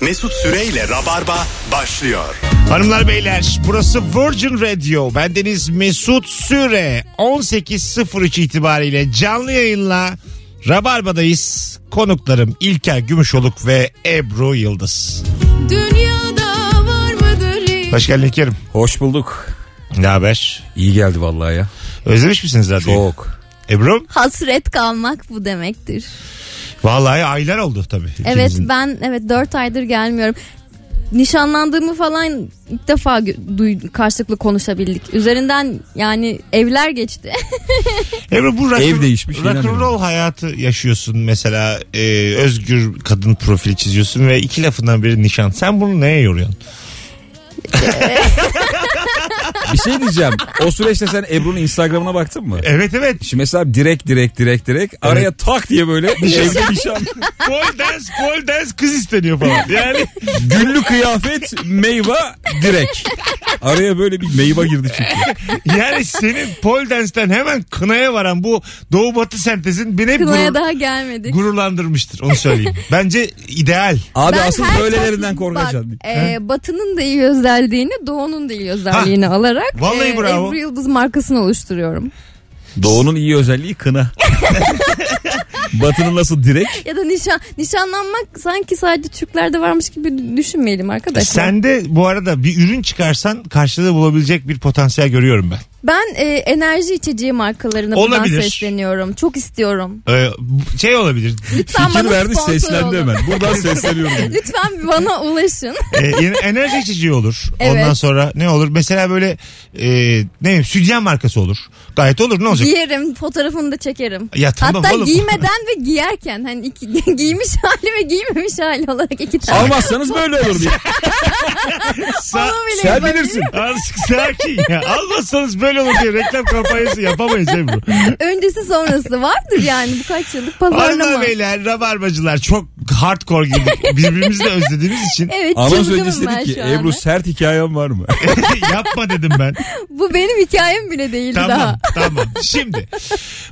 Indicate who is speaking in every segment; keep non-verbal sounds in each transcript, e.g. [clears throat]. Speaker 1: Mesut Süreyle Rabarba başlıyor.
Speaker 2: Hanımlar beyler burası Virgin Radio. Bendeniz Mesut Süre. 18.03 itibariyle canlı yayınla Rabarba'dayız. Konuklarım İlker Gümüşoluk ve Ebru Yıldız.
Speaker 3: Dünyada var mıdır
Speaker 2: Hoş geldin İlker'im.
Speaker 4: Hoş bulduk.
Speaker 2: Ne haber?
Speaker 4: İyi geldi vallahi ya.
Speaker 2: Özlemiş misiniz zaten?
Speaker 4: Çok.
Speaker 2: Ebru?
Speaker 3: Hasret kalmak bu demektir.
Speaker 2: Vallahi aylar oldu tabii.
Speaker 3: Evet
Speaker 2: ikinizin.
Speaker 3: ben evet 4 aydır gelmiyorum. Nişanlandığımı falan ilk defa gö- duy- karşılıklı konuşabildik. Üzerinden yani evler geçti. [laughs]
Speaker 2: Ebru bu rock,
Speaker 4: Ev değişmiş,
Speaker 2: rock and
Speaker 4: inanıyorum.
Speaker 2: roll hayatı yaşıyorsun mesela e, özgür kadın profili çiziyorsun ve iki lafından biri nişan. Sen bunu neye yoruyorsun?
Speaker 4: Bir şey diyeceğim. O süreçte sen Ebru'nun Instagram'ına baktın mı?
Speaker 2: Evet evet.
Speaker 4: Şimdi mesela direkt direkt direkt direkt araya tak diye böyle evde nişan.
Speaker 2: Pole dance, pole dance kız isteniyor falan. Yani
Speaker 4: Güllü kıyafet meyve direkt. Araya böyle bir meyve girdi çünkü.
Speaker 2: yani senin pole dance'den hemen kınaya varan bu doğu batı sentezin beni hep
Speaker 3: Kınaya
Speaker 2: gurur,
Speaker 3: daha gelmedik.
Speaker 2: gururlandırmıştır onu söyleyeyim. Bence ideal.
Speaker 4: Abi
Speaker 3: Ben
Speaker 4: asıl
Speaker 3: her
Speaker 4: böylelerinden
Speaker 3: tarafı-
Speaker 4: korkacaksın.
Speaker 3: Bak, e, batının da iyi özelliğini, doğunun da iyi özelliğini alarak
Speaker 2: Vallahi
Speaker 3: e,
Speaker 2: bravo.
Speaker 3: Ebru Yıldız markasını oluşturuyorum.
Speaker 4: Doğu'nun iyi özelliği kına. [laughs] Batı'nın nasıl direkt?
Speaker 3: Ya da nişan nişanlanmak sanki sadece Türklerde varmış gibi düşünmeyelim arkadaşlar.
Speaker 2: E Sen de bu arada bir ürün çıkarsan karşılığı bulabilecek bir potansiyel görüyorum ben.
Speaker 3: Ben e, enerji içeceği markalarına buradan
Speaker 2: Olabilir.
Speaker 3: sesleniyorum. Çok istiyorum.
Speaker 2: Ee, şey olabilir.
Speaker 3: Lütfen
Speaker 4: Fikir
Speaker 3: bana
Speaker 4: verdi
Speaker 3: sponsor
Speaker 4: seslendi
Speaker 3: olun.
Speaker 4: hemen. Buradan sesleniyorum.
Speaker 3: [laughs] Lütfen bana ulaşın.
Speaker 2: Ee, en- enerji içici olur.
Speaker 3: Evet.
Speaker 2: Ondan sonra ne olur? Mesela böyle e, ne bileyim sütyen markası olur. Gayet olur ne olacak?
Speaker 3: Giyerim, fotoğrafını da çekerim.
Speaker 2: Ya tamam
Speaker 3: Hatta
Speaker 2: oğlum.
Speaker 3: giymeden ve giyerken hani iki, [laughs] giymiş hali ve giymemiş hali olarak iki tane.
Speaker 4: Almazsanız böyle olur diye.
Speaker 2: Sa-
Speaker 3: Onu bile
Speaker 4: Sen
Speaker 3: yapabilirim.
Speaker 4: bilirsin.
Speaker 2: [laughs] Azıcık sakin ya. Almazsanız böyle olur diye reklam kampanyası yapamayız Ebru.
Speaker 3: [laughs] Öncesi sonrası vardır yani bu kaç yıllık pazarlama.
Speaker 2: Hanımlar beyler rabarbacılar çok hardcore girdik. Birbirimizi de özlediğimiz için
Speaker 3: Evet
Speaker 4: Anons öncesi
Speaker 3: çılgınım ben
Speaker 4: dedik ki
Speaker 3: şu anda.
Speaker 4: Ebru sert hikayen var mı?
Speaker 2: [laughs] yapma dedim ben.
Speaker 3: Bu benim hikayem bile değildi daha.
Speaker 2: Tamam [laughs] tamam. Şimdi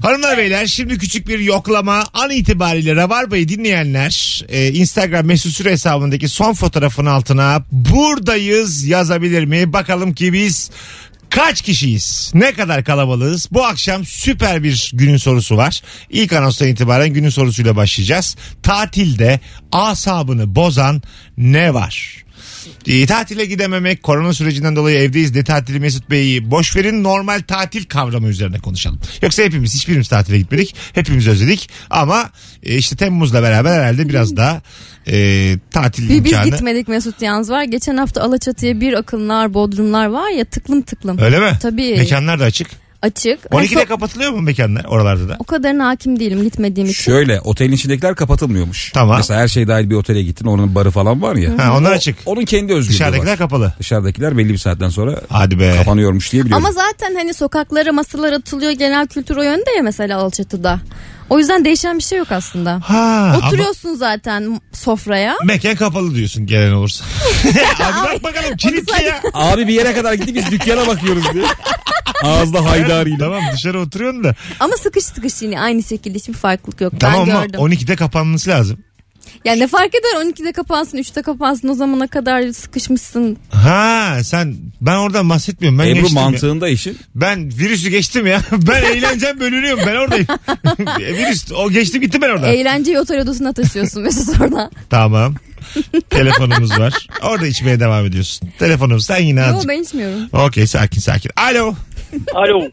Speaker 2: hanımlar beyler şimdi küçük bir yoklama. An itibariyle Rabarba'yı dinleyenler e, Instagram mesut süre hesabındaki son fotoğrafın altına buradayız yazabilir mi? Bakalım ki biz kaç kişiyiz? Ne kadar kalabalığız? Bu akşam süper bir günün sorusu var. İlk anonstan itibaren günün sorusuyla başlayacağız. Tatilde asabını bozan ne var? E, tatile gidememek, korona sürecinden dolayı evdeyiz de tatili Mesut Bey'i boş verin. Normal tatil kavramı üzerine konuşalım. Yoksa hepimiz, hiçbirimiz tatile gitmedik. Hepimiz özledik. Ama e, işte Temmuz'la beraber herhalde biraz daha e, tatil
Speaker 3: Hmm. Bir biz
Speaker 2: imkanı.
Speaker 3: gitmedik Mesut yalnız var. Geçen hafta Alaçatı'ya bir akınlar, bodrumlar var ya tıklım tıklım.
Speaker 2: Öyle mi?
Speaker 3: Tabii.
Speaker 2: Mekanlar da açık.
Speaker 3: Açık. En
Speaker 2: 12'de
Speaker 3: son-
Speaker 2: kapatılıyor mu mekanlar oralarda da?
Speaker 3: o kadarına hakim değilim gitmediğim için.
Speaker 4: Şöyle otelin içindekiler kapatılmıyormuş.
Speaker 2: Tamam.
Speaker 4: Mesela her şey dahil bir otele gittin oranın barı falan var ya.
Speaker 2: Ha, onlar
Speaker 4: O-
Speaker 2: açık.
Speaker 4: Onun kendi özgürlüğü
Speaker 2: Dışarıdakiler
Speaker 4: var.
Speaker 2: kapalı.
Speaker 4: Dışarıdakiler belli bir saatten sonra
Speaker 2: Hadi be.
Speaker 4: kapanıyormuş diye biliyorum.
Speaker 3: Ama zaten hani sokaklara masalar atılıyor genel kültür o yönde ya mesela Alaçatı'da. O yüzden değişen bir şey yok aslında.
Speaker 2: Ha, ama
Speaker 3: Oturuyorsun zaten sofraya.
Speaker 2: mekan kapalı diyorsun gelen
Speaker 3: [laughs]
Speaker 2: olursa. Hadi bak bakalım kilitli ya.
Speaker 4: Abi bir yere kadar gitti biz dükkana bakıyoruz diye. Ağızda haydarıyla.
Speaker 2: Tamam dışarı oturuyorsun da.
Speaker 3: Ama sıkış sıkış yine aynı şekilde hiçbir farklılık yok.
Speaker 2: Tamam
Speaker 3: ben
Speaker 2: ama
Speaker 3: gördüm.
Speaker 2: 12'de kapanması lazım.
Speaker 3: Ya ne fark eder 12'de kapansın 3'te kapansın o zamana kadar sıkışmışsın.
Speaker 2: Ha sen ben oradan bahsetmiyorum. Ben
Speaker 4: Ebru
Speaker 2: geçtim ya.
Speaker 4: mantığında işin.
Speaker 2: Ben virüsü geçtim ya. [laughs] Ben eğlencem bölünüyorum. Ben oradayım. [laughs] E, Virüs o geçtim gittim ben oradan.
Speaker 3: Eğlenceyi otel
Speaker 2: [laughs]
Speaker 3: odasına taşıyorsun Mesut orada.
Speaker 2: tamam. Telefonumuz var. Orada içmeye devam ediyorsun. Telefonum sen yine
Speaker 3: Yok
Speaker 2: azıcık.
Speaker 3: ben içmiyorum.
Speaker 2: [laughs] Okey sakin sakin. Alo.
Speaker 5: Alo.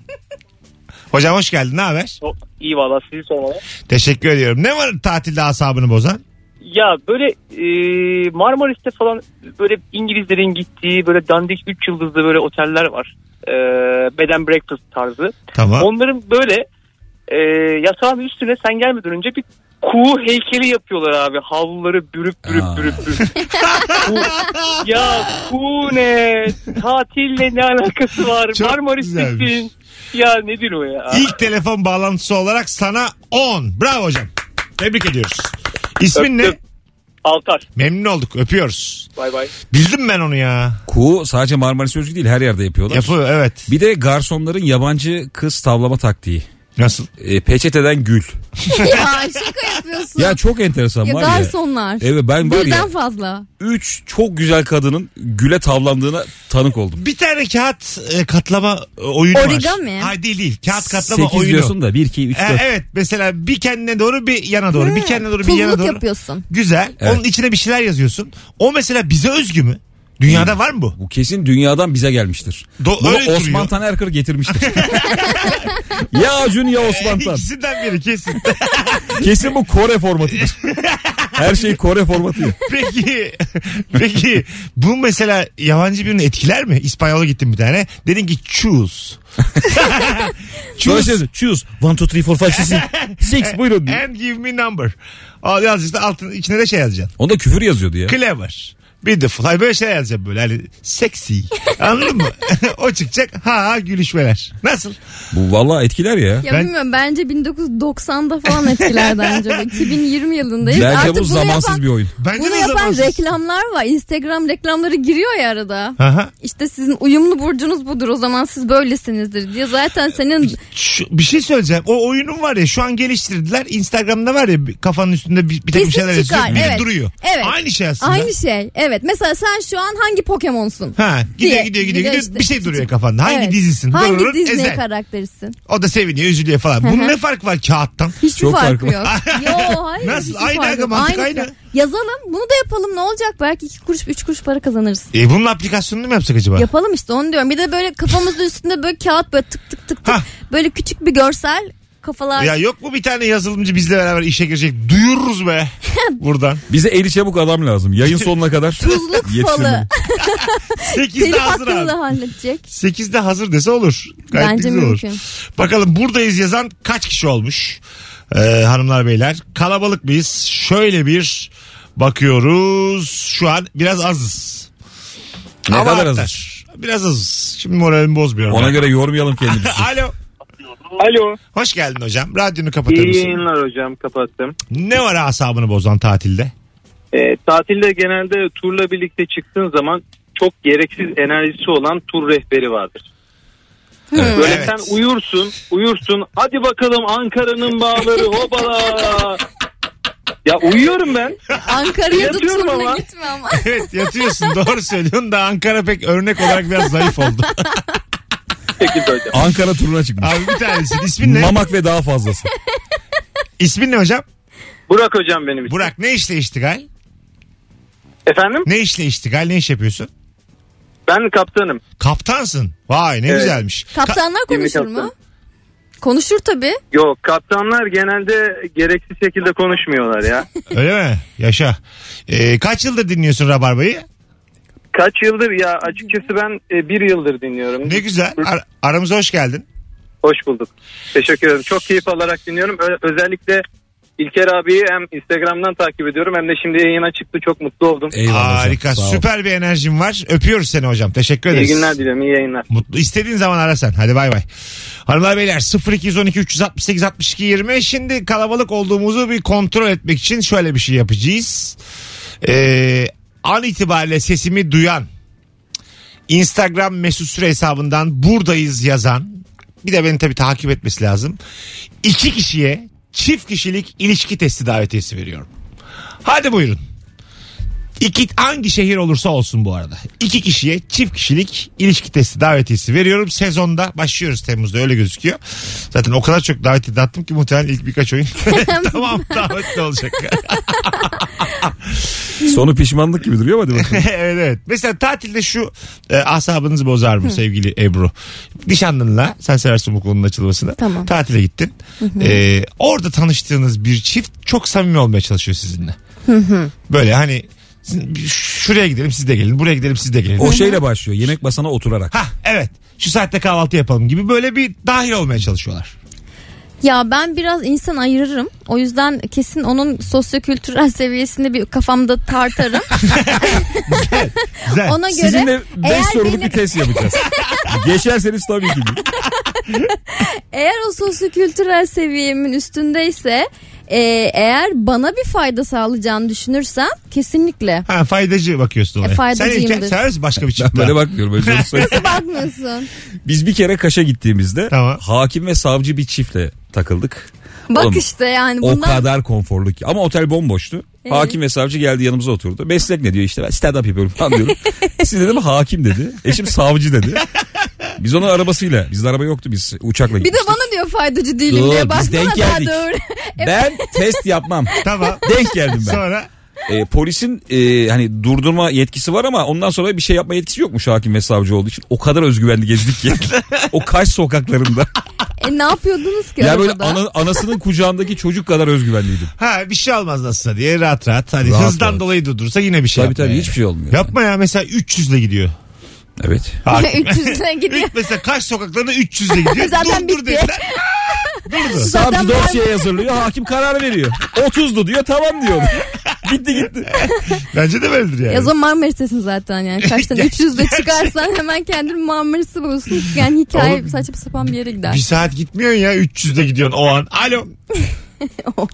Speaker 2: Hocam hoş geldin. Ne haber?
Speaker 5: O- İyi valla sizi sormalı.
Speaker 2: Teşekkür ediyorum. Ne var tatilde asabını bozan?
Speaker 5: Ya böyle e, Marmaris'te falan böyle İngilizlerin gittiği böyle dandik 3 yıldızlı böyle oteller var. E, bed and breakfast tarzı.
Speaker 2: Tamam.
Speaker 5: Onların böyle e, yatağın üstüne sen gelmeden önce bir kuğu heykeli yapıyorlar abi. Havluları bürüp bürüp
Speaker 4: Aa.
Speaker 5: bürüp bürüp. Kuğu- ya kuğu ne? Tatille ne alakası var?
Speaker 2: Çok güzelmiş.
Speaker 5: Marmaris'tesin. Ya nedir o ya?
Speaker 2: İlk telefon bağlantısı olarak sana 10. Bravo hocam. Tebrik ediyoruz. İsmin ne?
Speaker 5: Öptüm. Altar.
Speaker 2: Memnun olduk. Öpüyoruz.
Speaker 5: Bay bay.
Speaker 2: Bildim ben onu ya.
Speaker 4: Kuğu sadece Marmaris özgü değil her yerde yapıyorlar.
Speaker 2: Yapı evet.
Speaker 4: bir de garsonların yabancı kız tavlama taktiği.
Speaker 2: Nasıl?
Speaker 4: E, peçeteden gül.
Speaker 3: ya şaka yapıyorsun.
Speaker 4: Ya
Speaker 3: Ya,
Speaker 4: çok enteresan var ya.
Speaker 3: garsonlar.
Speaker 4: Evet ben var
Speaker 3: Birden
Speaker 4: ya
Speaker 3: fazla.
Speaker 4: üç çok güzel kadının güle tavlandığına tanık oldum.
Speaker 2: Bir tane kağıt e, katlama e, oyunu var.
Speaker 3: Origami.
Speaker 2: Hayır değil değil. Kağıt katlama
Speaker 4: Sekiz
Speaker 2: oyunu.
Speaker 4: diyorsun da 1 2 3
Speaker 2: E,
Speaker 4: 4.
Speaker 2: evet mesela bir kendine doğru bir yana doğru. Bir kendine doğru bir yana
Speaker 3: Tuzluk
Speaker 2: doğru.
Speaker 3: yapıyorsun.
Speaker 2: Güzel.
Speaker 4: Evet.
Speaker 2: Onun içine bir şeyler yazıyorsun. O mesela bize özgü mü?
Speaker 4: Hmm.
Speaker 2: Dünyada var mı bu?
Speaker 4: Bu kesin dünyadan bize gelmiştir.
Speaker 2: Do-
Speaker 4: Bunu
Speaker 2: öyle duruyor.
Speaker 4: Osman Taner
Speaker 2: [laughs]
Speaker 4: Kır getirmiştir. ya Acun ya Osman Tan.
Speaker 2: İkisinden biri kesin. [laughs]
Speaker 4: Kesin bu Kore formatıdır. Her şey
Speaker 2: [laughs]
Speaker 4: Kore formatı.
Speaker 2: peki, peki bu mesela yabancı birini etkiler mi? İspanyol'a gittin bir tane. Dedin ki choose.
Speaker 4: Sonra şey yazıyor, Choose. 1, 2, 3, 4,
Speaker 2: [laughs]
Speaker 4: 5, 6, 6. Buyurun.
Speaker 2: And give me number. Al yaz işte altın içine de şey yazacaksın.
Speaker 4: Onda küfür yazıyordu ya.
Speaker 2: Clever. Beautiful. Hayır böyle şey yazacağım böyle hani sexy. Anladın mı? [laughs] o çıkacak ha ha gülüşmeler. Nasıl?
Speaker 4: Bu valla etkiler ya.
Speaker 3: Ya
Speaker 2: Ben-
Speaker 3: bilmiyorum bence 1990'da falan etkilerdi bence. 2020 yılındayız.
Speaker 4: Bence
Speaker 3: Artık
Speaker 4: bu
Speaker 3: bunu
Speaker 4: zamansız
Speaker 3: yapan,
Speaker 4: bir oyun.
Speaker 2: Bence
Speaker 3: Bunu
Speaker 2: de
Speaker 3: yapan
Speaker 2: zamansız.
Speaker 3: reklamlar var. Instagram reklamları giriyor ya arada.
Speaker 2: Aha.
Speaker 3: İşte sizin uyumlu burcunuz budur o zaman siz böylesinizdir diye. Zaten senin
Speaker 2: Şu, bir şey söyleyeceğim. O oyunun var ya şu an geliştirdiler. Instagram'da var ya bir- kafanın üstünde bir, bir takım
Speaker 3: Kesin
Speaker 2: şeyler yazıyor.
Speaker 3: çıkar,
Speaker 2: Bir de
Speaker 3: evet.
Speaker 2: duruyor.
Speaker 3: Evet.
Speaker 2: Aynı şey aslında.
Speaker 3: aynı şey. Evet mesela sen şu an hangi Pokemon'sun?
Speaker 2: Ha, gidiyor
Speaker 3: Diye.
Speaker 2: gidiyor gidiyor,
Speaker 3: Gidiyor
Speaker 2: gidiyor.
Speaker 3: işte.
Speaker 2: bir şey duruyor kafanda. Hangi
Speaker 3: Evet.
Speaker 2: dizisin?
Speaker 3: Hangi
Speaker 2: Durur,
Speaker 3: Disney
Speaker 2: ezel.
Speaker 3: karakterisin?
Speaker 2: O da seviniyor, üzülüyor falan. Bunun
Speaker 3: hı.
Speaker 2: ne farkı var kağıttan?
Speaker 3: Hiçbir
Speaker 4: Çok
Speaker 3: farkı
Speaker 4: farklı.
Speaker 3: yok.
Speaker 2: [laughs]
Speaker 3: Yo hayır.
Speaker 2: Nasıl?
Speaker 3: hiçbir
Speaker 2: Aynı
Speaker 3: farkı
Speaker 2: aga,
Speaker 3: yok.
Speaker 2: mantık
Speaker 3: Aynısı.
Speaker 2: aynı.
Speaker 3: Yazalım bunu da yapalım ne olacak? Belki iki kuruş üç kuruş para kazanırız.
Speaker 2: E bunun aplikasyonunu mu yapsak acaba?
Speaker 3: Yapalım işte onu diyorum. Bir de böyle kafamızın üstünde böyle kağıt böyle tık tık tık tık.
Speaker 2: Hah.
Speaker 3: Böyle küçük bir görsel kafalar.
Speaker 2: Ya yok mu bir tane yazılımcı bizle beraber işe girecek? Duyururuz
Speaker 3: [laughs]
Speaker 2: be buradan.
Speaker 4: Bize eli çabuk adam lazım. Yayın sonuna kadar.
Speaker 3: Tuzluk
Speaker 4: yetsin.
Speaker 3: falı.
Speaker 2: 8'de
Speaker 3: Telif
Speaker 2: hazır
Speaker 3: hakkını
Speaker 2: abi.
Speaker 3: da halledecek.
Speaker 2: 8'de hazır dese olur. Gayet
Speaker 3: Bence
Speaker 2: güzel olur.
Speaker 3: mümkün.
Speaker 2: Bakalım buradayız yazan kaç kişi olmuş Ee, hanımlar beyler. Kalabalık mıyız? Şöyle bir bakıyoruz. Şu an biraz azız.
Speaker 4: Ne
Speaker 2: Ama
Speaker 4: kadar
Speaker 2: artar.
Speaker 4: hazır.
Speaker 2: Biraz azız. Şimdi moralimi bozmuyorum.
Speaker 4: Ona
Speaker 2: ben. [laughs]
Speaker 4: göre yormayalım kendimizi.
Speaker 2: Alo.
Speaker 5: Alo.
Speaker 2: Hoş geldin hocam. Radyonu kapatır
Speaker 5: İyi
Speaker 2: mısın?
Speaker 5: yayınlar hocam kapattım.
Speaker 2: Ne var asabını bozan tatilde? [laughs]
Speaker 5: Ee, tatilde genelde turla birlikte çıktığın zaman çok gereksiz enerjisi olan tur rehberi vardır. Böyle
Speaker 2: Evet.
Speaker 5: sen uyursun, uyursun. Hadi bakalım Ankara'nın bağları hobala. Ya uyuyorum ben.
Speaker 3: Ankara'ya da
Speaker 5: Yatıyorum
Speaker 3: turuna
Speaker 5: ama.
Speaker 3: gitme ama.
Speaker 2: Evet yatıyorsun doğru söylüyorsun da Ankara pek örnek olarak biraz zayıf
Speaker 4: [laughs]
Speaker 2: oldu.
Speaker 5: Peki hocam.
Speaker 4: Ankara turuna çıkmış.
Speaker 2: Abi bir tanesin. İsmin ne?
Speaker 4: Mamak ve daha fazlası.
Speaker 2: İsmin ne hocam?
Speaker 5: Burak hocam benim için.
Speaker 2: Burak ne işle iştigal?
Speaker 5: Efendim?
Speaker 2: Ne işle iştigal? Ne iş yapıyorsun?
Speaker 5: Ben kaptanım.
Speaker 2: Kaptansın. Vay ne
Speaker 5: Evet.
Speaker 2: güzelmiş. Ka-
Speaker 3: Kaptanlar konuşur mu?
Speaker 5: kaptan.
Speaker 3: Konuşur tabii.
Speaker 5: Yok kaptanlar genelde gereksiz şekilde konuşmuyorlar ya.
Speaker 2: [laughs] Öyle mi? Yaşa. Ee, kaç yıldır dinliyorsun Rabarba'yı?
Speaker 5: Kaç yıldır ya açıkçası ben e, bir yıldır dinliyorum.
Speaker 2: Ne güzel. Ar- aramıza hoş geldin.
Speaker 5: Hoş bulduk. Teşekkür ederim. Çok keyif alarak dinliyorum. Ö- özellikle İlker abiyi hem Instagram'dan takip ediyorum hem de şimdi yayına çıktı. Çok mutlu oldum.
Speaker 4: Eyvallah hocam,
Speaker 2: Harika.
Speaker 4: sağ ol.
Speaker 2: Süper bir enerjin var. Öpüyoruz seni hocam. Teşekkür
Speaker 5: İyi
Speaker 2: ederiz.
Speaker 5: günler diliyorum. İyi yayınlar.
Speaker 2: Mutlu. İstediğin zaman ara sen. Hadi bay bay. Hanımlar beyler 0212 368 62 20. Şimdi kalabalık olduğumuzu bir kontrol etmek için şöyle bir şey yapacağız. Ee, an itibariyle sesimi duyan Instagram mesut süre hesabından buradayız yazan bir de beni tabii takip etmesi lazım. İki kişiye çift kişilik ilişki testi davetiyesi veriyorum. Hadi buyurun. İki, hangi şehir olursa olsun bu arada. İki kişiye çift kişilik ilişki testi davetiyesi veriyorum. Sezonda başlıyoruz Temmuz'da öyle gözüküyor. Zaten o kadar çok davetiye dağıttım ki muhtemelen ilk birkaç oyun [laughs] tamam davetli olacak. [laughs]
Speaker 4: Sonu pişmanlık gibi duruyor ama hadi bakalım.
Speaker 2: evet evet. Mesela tatilde şu e, asabınızı bozar mı sevgili Ebru? Nişanlınla sen seversin bu konunun açılmasını.
Speaker 3: Tamam.
Speaker 2: Tatile gittin. E, orada tanıştığınız bir çift çok samimi olmaya çalışıyor sizinle. Böyle hani sizin- şuraya gidelim siz de gelin buraya gidelim siz de gelin.
Speaker 4: O şeyle başlıyor. Yemek masana oturarak.
Speaker 2: Ha evet şu saatte kahvaltı yapalım gibi böyle bir dahil olmaya çalışıyorlar.
Speaker 3: Ya ben biraz insan ayırırım. O yüzden kesin onun sosyokültürel seviyesini bir kafamda
Speaker 2: [laughs]
Speaker 3: tartarım.
Speaker 2: Güzel.
Speaker 3: Ona göre
Speaker 4: Sizinle 5
Speaker 3: eğer
Speaker 4: soruluk
Speaker 3: benim-
Speaker 4: bir test
Speaker 2: [laughs]
Speaker 4: yapacağız. Geçerseniz tabii ki.
Speaker 3: Eğer o sosyokültürel seviyemin üstündeyse e, eğer bana bir fayda sağlayacağını düşünürsem
Speaker 2: [laughs]
Speaker 3: kesinlikle.
Speaker 2: Ha faydacı bakıyorsun
Speaker 3: E,
Speaker 2: olaya. sen
Speaker 3: faydacıyımdır.
Speaker 2: İlker sever misin başka bir
Speaker 4: Ben
Speaker 2: çift?
Speaker 4: böyle bakmıyorum. Öyle şey canım söyleyeyim.
Speaker 3: Bakmıyorsun.
Speaker 4: Biz bir kere Kaş'a gittiğimizde
Speaker 2: Tamam.
Speaker 4: hakim ve savcı bir çiftle takıldık.
Speaker 3: Bak
Speaker 4: Oğlum,
Speaker 3: işte yani
Speaker 4: O
Speaker 3: bundan
Speaker 4: kadar konforlu ki. Ama otel bomboştu.
Speaker 3: Evet.
Speaker 4: Hakim ve savcı geldi yanımıza oturdu. Meslek ne diyor işte ben stand up yapıyorum falan diyorum. [laughs] Siz dedim hakim dedi. Eşim savcı dedi. Biz onun arabasıyla. Bizde araba yoktu biz uçakla
Speaker 3: bir de
Speaker 4: gittik.
Speaker 3: bana diyor faydacı değilim
Speaker 4: Yo,
Speaker 3: diye.
Speaker 4: biz
Speaker 3: Baksana
Speaker 4: denk
Speaker 3: daha
Speaker 4: geldik.
Speaker 3: doğru.
Speaker 4: Ben test yapmam.
Speaker 2: Tamam.
Speaker 4: Denk geldim [laughs] ben.
Speaker 2: Sonra
Speaker 4: E, polisin e, hani durdurma yetkisi var ama ondan sonra bir şey yapma yetkisi yokmuş hakim ve savcı olduğu için. O kadar özgüvenli gezdik ki. o kaç sokaklarında.
Speaker 3: E ne yapıyordunuz ki
Speaker 4: ya böyle
Speaker 3: arabada? [laughs]
Speaker 4: ana- anasının kucağındaki çocuk kadar özgüvenliydim.
Speaker 2: ha bir şey olmaz nasılsa diye rahat rahat. Hani
Speaker 4: Rahat
Speaker 2: hızdan
Speaker 4: rahat.
Speaker 2: dolayı durdursa yine bir şey
Speaker 4: Tabii
Speaker 2: yapma
Speaker 4: tabii
Speaker 2: yani.
Speaker 4: hiçbir şey olmuyor.
Speaker 2: Yapma ya mesela 300 ile
Speaker 3: [laughs]
Speaker 2: gidiyor.
Speaker 4: Evet.
Speaker 3: 300'e gidiyor.
Speaker 4: [laughs]
Speaker 2: Üç- mesela kaç sokaklarında 300 ile gidiyor.
Speaker 3: [laughs] Zaten
Speaker 2: Dur dur
Speaker 3: bitti.
Speaker 2: dediler. Durdu.
Speaker 4: Savcı
Speaker 3: Zaten ben-
Speaker 4: dosyayı hazırlıyor. Hakim karar veriyor. 30'du diyor. Tamam diyor. gitti gitti.
Speaker 2: Bence de böyledir yani.
Speaker 3: Ya zaman Marmaris'tesin zaten yani.
Speaker 4: [laughs]
Speaker 3: Kaçtan 300 de çıkarsan hemen kendini Marmaris'i bulursun. Yani hikaye
Speaker 2: Oğlum,
Speaker 3: saçma sapan bir yere
Speaker 2: Bir
Speaker 3: gider.
Speaker 2: saat gitmiyorsun ya 300'de gidiyorsun o an. Alo. o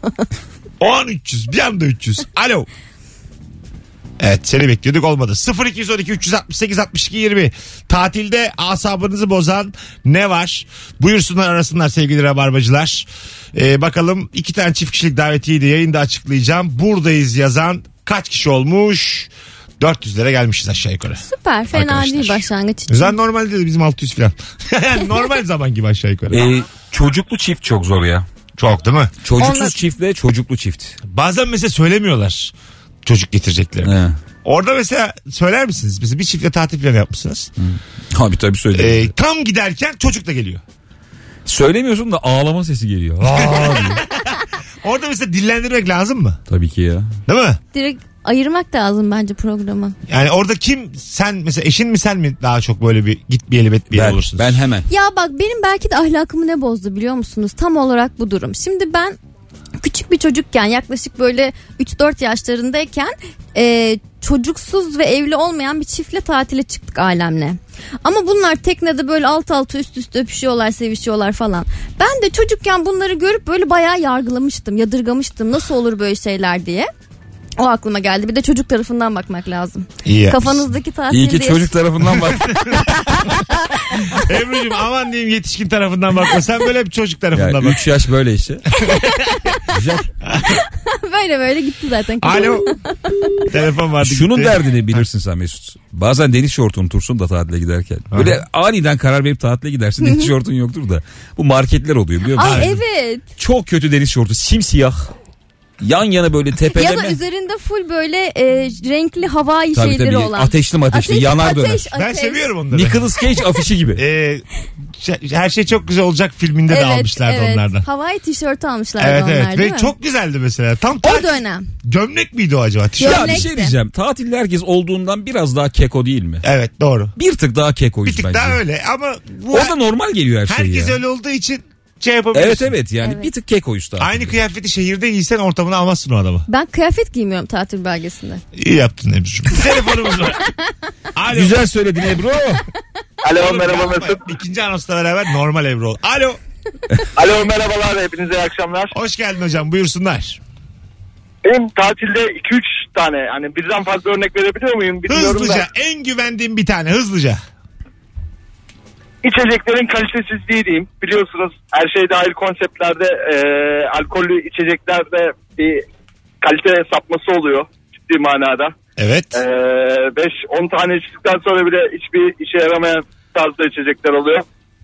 Speaker 2: an 300. Bir anda 300. Alo. Evet seni bekliyorduk olmadı. 0212 368 62 20. Tatilde asabınızı bozan ne var? Buyursunlar arasınlar sevgili rabarbacılar. Ee, bakalım iki tane çift kişilik davetiyeyi de yayında açıklayacağım. Buradayız yazan kaç kişi olmuş? 400 lira gelmişiz aşağı yukarı.
Speaker 3: Süper fena
Speaker 2: Arkadaşlar.
Speaker 3: değil başlangıç için.
Speaker 2: Zaten normal dedi bizim 600 falan. [laughs] normal zaman gibi aşağı yukarı.
Speaker 4: Ee, E, çocuklu çift çok zor ya.
Speaker 2: Çok değil mi?
Speaker 4: Çocuksuz
Speaker 3: Onlar-
Speaker 4: çiftle çocuklu çift.
Speaker 2: Bazen mesela söylemiyorlar çocuk getireceklerini.
Speaker 4: He.
Speaker 2: Orada mesela söyler misiniz? Mesela bir çiftle tatil planı yapmışsınız.
Speaker 4: Abi tabii söyle.
Speaker 2: Ee, tam giderken çocuk da geliyor.
Speaker 4: Söylemiyorsun da ağlama sesi geliyor. Aa diyor.
Speaker 2: Orada mesela dillendirmek lazım mı?
Speaker 4: tabii ki ya.
Speaker 2: Değil mi?
Speaker 3: Direkt ayırmak lazım bence programı.
Speaker 2: Yani orada kim sen mesela eşin mi sen mi daha çok böyle bir gitmeyelim etmeyelim
Speaker 4: Ben,
Speaker 2: olursunuz?
Speaker 4: ben hemen.
Speaker 3: Ya bak benim belki de ahlakımı ne bozdu biliyor musunuz? Tam olarak bu durum. Şimdi ben küçük bir çocukken yaklaşık böyle 3-4 yaşlarındayken e, çocuksuz ve evli olmayan bir çiftle tatile çıktık ailemle. Ama bunlar teknede böyle alt alta üst üste öpüşüyorlar sevişiyorlar falan. Ben de çocukken bunları görüp böyle bayağı yargılamıştım yadırgamıştım nasıl olur böyle şeyler diye. O aklıma geldi. Bir de çocuk tarafından bakmak lazım.
Speaker 2: İyi yapmışsın. [laughs]
Speaker 3: Kafanızdaki tatil
Speaker 4: İyi ki
Speaker 3: değil.
Speaker 4: çocuk tarafından bak.
Speaker 2: Ebru'cum aman diyeyim yetişkin tarafından bakma. Sen böyle hep çocuk
Speaker 4: ya,
Speaker 2: tarafından bak.
Speaker 4: 3 yaş
Speaker 2: [laughs]
Speaker 4: böyle işte. Güzel.
Speaker 3: [laughs] böyle böyle gitti zaten.
Speaker 2: Alo. Telefon vardı.
Speaker 4: Şunun
Speaker 2: gitti.
Speaker 4: derdini bilirsin sen Mesut. Bazen deniz şortu unutursun da tatile giderken. Böyle aniden karar verip tatile
Speaker 3: [laughs]
Speaker 4: gidersin deniz şortun yoktur da. Bu marketler oluyor biliyor musun?
Speaker 3: Ay evet.
Speaker 4: Çok kötü deniz şortu simsiyah. Yan yana böyle
Speaker 3: Ya da
Speaker 4: tepeleme.
Speaker 3: üzerinde full böyle e, renkli havai
Speaker 4: Tabii
Speaker 3: şeyleri
Speaker 4: tabii
Speaker 3: olan.
Speaker 4: ateşli mateşli
Speaker 3: Ateş,
Speaker 4: yanar
Speaker 3: ateş,
Speaker 4: döner.
Speaker 3: ateş.
Speaker 2: Ben seviyorum onları.
Speaker 4: Nicolas Cage
Speaker 3: [laughs]
Speaker 4: afişi gibi.
Speaker 2: Ee, ş- her şey çok güzel olacak filminde de almışlardı onlardan.
Speaker 3: Havai tişört almışlardı
Speaker 2: Evet
Speaker 3: onlar
Speaker 2: evet
Speaker 3: değil
Speaker 2: ve
Speaker 3: mi?
Speaker 2: çok güzeldi mesela. Tam
Speaker 3: O
Speaker 2: tatil-
Speaker 3: dönem.
Speaker 2: Gömlek miydi o acaba? Tişört.
Speaker 4: ya bir
Speaker 3: gömlekti.
Speaker 4: şey diyeceğim. Tatilde herkes olduğundan biraz daha keko değil mi?
Speaker 2: Evet doğru.
Speaker 4: Bir tık daha kekoyuz
Speaker 2: Bir tık
Speaker 4: bence.
Speaker 2: daha öyle ama bu
Speaker 4: Orada normal geliyor her şey
Speaker 2: herkes
Speaker 4: ya.
Speaker 2: öyle olduğu için şey yapabilirsin.
Speaker 4: Evet evet yani
Speaker 3: Evet.
Speaker 4: bir tık kekoyuz daha.
Speaker 2: Aynı kıyafeti şehirde giysen ortamını almazsın o adama.
Speaker 3: Ben kıyafet giymiyorum tatil belgesinde.
Speaker 2: İyi yaptın Ebru'cum. Telefonumuz
Speaker 4: [laughs]
Speaker 2: var. Alo.
Speaker 4: Güzel söyledin Ebru.
Speaker 5: Alo
Speaker 2: Oğlum, yapma. İkinci anonsla beraber normal Ebru ol. Alo.
Speaker 5: Alo merhabalar hepinize iyi akşamlar.
Speaker 2: Hoş geldin hocam buyursunlar.
Speaker 5: Benim tatilde 2-3 tane hani birden fazla örnek verebiliyor muyum bilmiyorum
Speaker 2: Hızlıca
Speaker 5: da.
Speaker 2: en güvendiğim bir tane hızlıca.
Speaker 5: İçeceklerin kalitesizliği diyeyim. Biliyorsunuz her şey dahil konseptlerde e, alkollü içeceklerde bir kalite sapması oluyor ciddi manada.
Speaker 2: Evet.
Speaker 5: E, 5-10 tane içtikten sonra bile hiçbir işe yaramayan tarzda içecekler oluyor.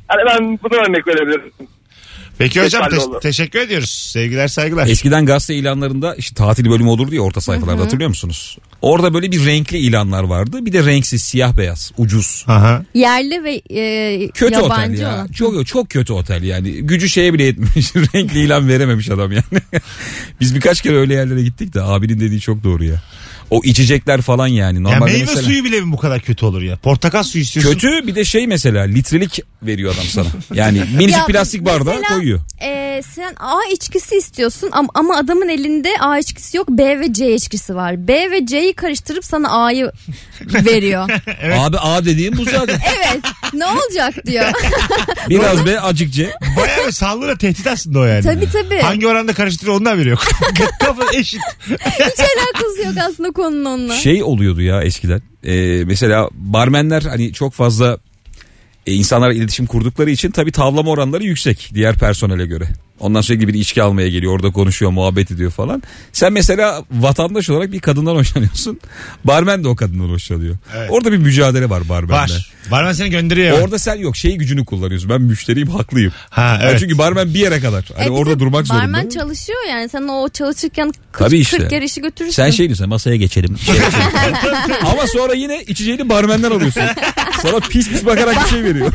Speaker 5: Hani ben bunu örnek verebilirim.
Speaker 2: Peki hocam
Speaker 5: yeterli
Speaker 2: te-
Speaker 5: olur.
Speaker 2: teşekkür ediyoruz. Sevgiler saygılar.
Speaker 4: [laughs] Eskiden gazete ilanlarında işte tatil bölümü olur diye orta sayfalarda hatırlıyor musunuz? Orada böyle bir renkli ilanlar vardı. Bir de renksiz siyah beyaz ucuz.
Speaker 2: Aha.
Speaker 3: Yerli ve e,
Speaker 4: Kötü
Speaker 3: yabancı
Speaker 4: otel ya.
Speaker 3: olan.
Speaker 4: Çok çok kötü otel yani. Gücü şeye bile yetmemiş. [laughs] renkli ilan verememiş adam yani. [laughs] Biz birkaç kere öyle yerlere gittik de abinin dediği çok doğru ya. O içecekler falan yani.
Speaker 2: Ya
Speaker 4: Normalde
Speaker 2: meyve
Speaker 4: mesela-
Speaker 2: suyu bile mi bu kadar kötü olur ya? Portakal suyu istiyorsun.
Speaker 4: Kötü bir de şey mesela litrelik veriyor adam sana. Yani minicik
Speaker 3: Ya
Speaker 4: plastik bardağı
Speaker 3: mesela,
Speaker 4: koyuyor.
Speaker 3: e, sen A içkisi istiyorsun ama, ama adamın elinde A içkisi yok B ve C içkisi var. B ve C'yi karıştırıp sana A'yı
Speaker 2: [laughs]
Speaker 3: veriyor.
Speaker 4: Abi A dediğim
Speaker 3: [laughs]
Speaker 4: bu zaten.
Speaker 3: evet ne olacak diyor.
Speaker 4: Biraz be acıkçe.
Speaker 2: Bayağı bir sallığına tehdit aslında o yani.
Speaker 3: tabii tabii.
Speaker 2: Hangi oranda karıştırıyor ondan haberi
Speaker 3: [laughs]
Speaker 2: yok. Kafa eşit.
Speaker 3: Hiç alakası yok aslında konunun onunla.
Speaker 4: Şey oluyordu ya eskiden. Ee, mesela barmenler hani çok fazla e, insanlarla iletişim kurdukları için tabii tavlama oranları yüksek diğer personele göre. Ondan sürekli bir içki almaya geliyor. Orada konuşuyor, muhabbet ediyor falan. Sen mesela vatandaş olarak bir kadından [laughs] hoşlanıyorsun. Barmen de o kadından hoşlanıyor.
Speaker 2: Evet.
Speaker 4: Orada bir mücadele var barmenle.
Speaker 2: Var. Barman seni gönderiyor. hemen.
Speaker 4: Orada sen yok şey gücünü kullanıyorsun. Ben müşteriyim haklıyım.
Speaker 2: Ha,
Speaker 4: Yani
Speaker 2: evet.
Speaker 4: çünkü barmen bir yere kadar. Hani
Speaker 3: E, bir de
Speaker 4: orada durmak zorunda.
Speaker 3: Barmen çalışıyor yani. Sen o çalışırken 40,
Speaker 4: Tabii işte.
Speaker 3: 40 yer işi götürürsün.
Speaker 4: Sen şey diyorsun masaya geçelim. Şey geçelim. Ama sonra yine içeceğini barmenden alıyorsun. Sana pis pis bakarak bir şey veriyor.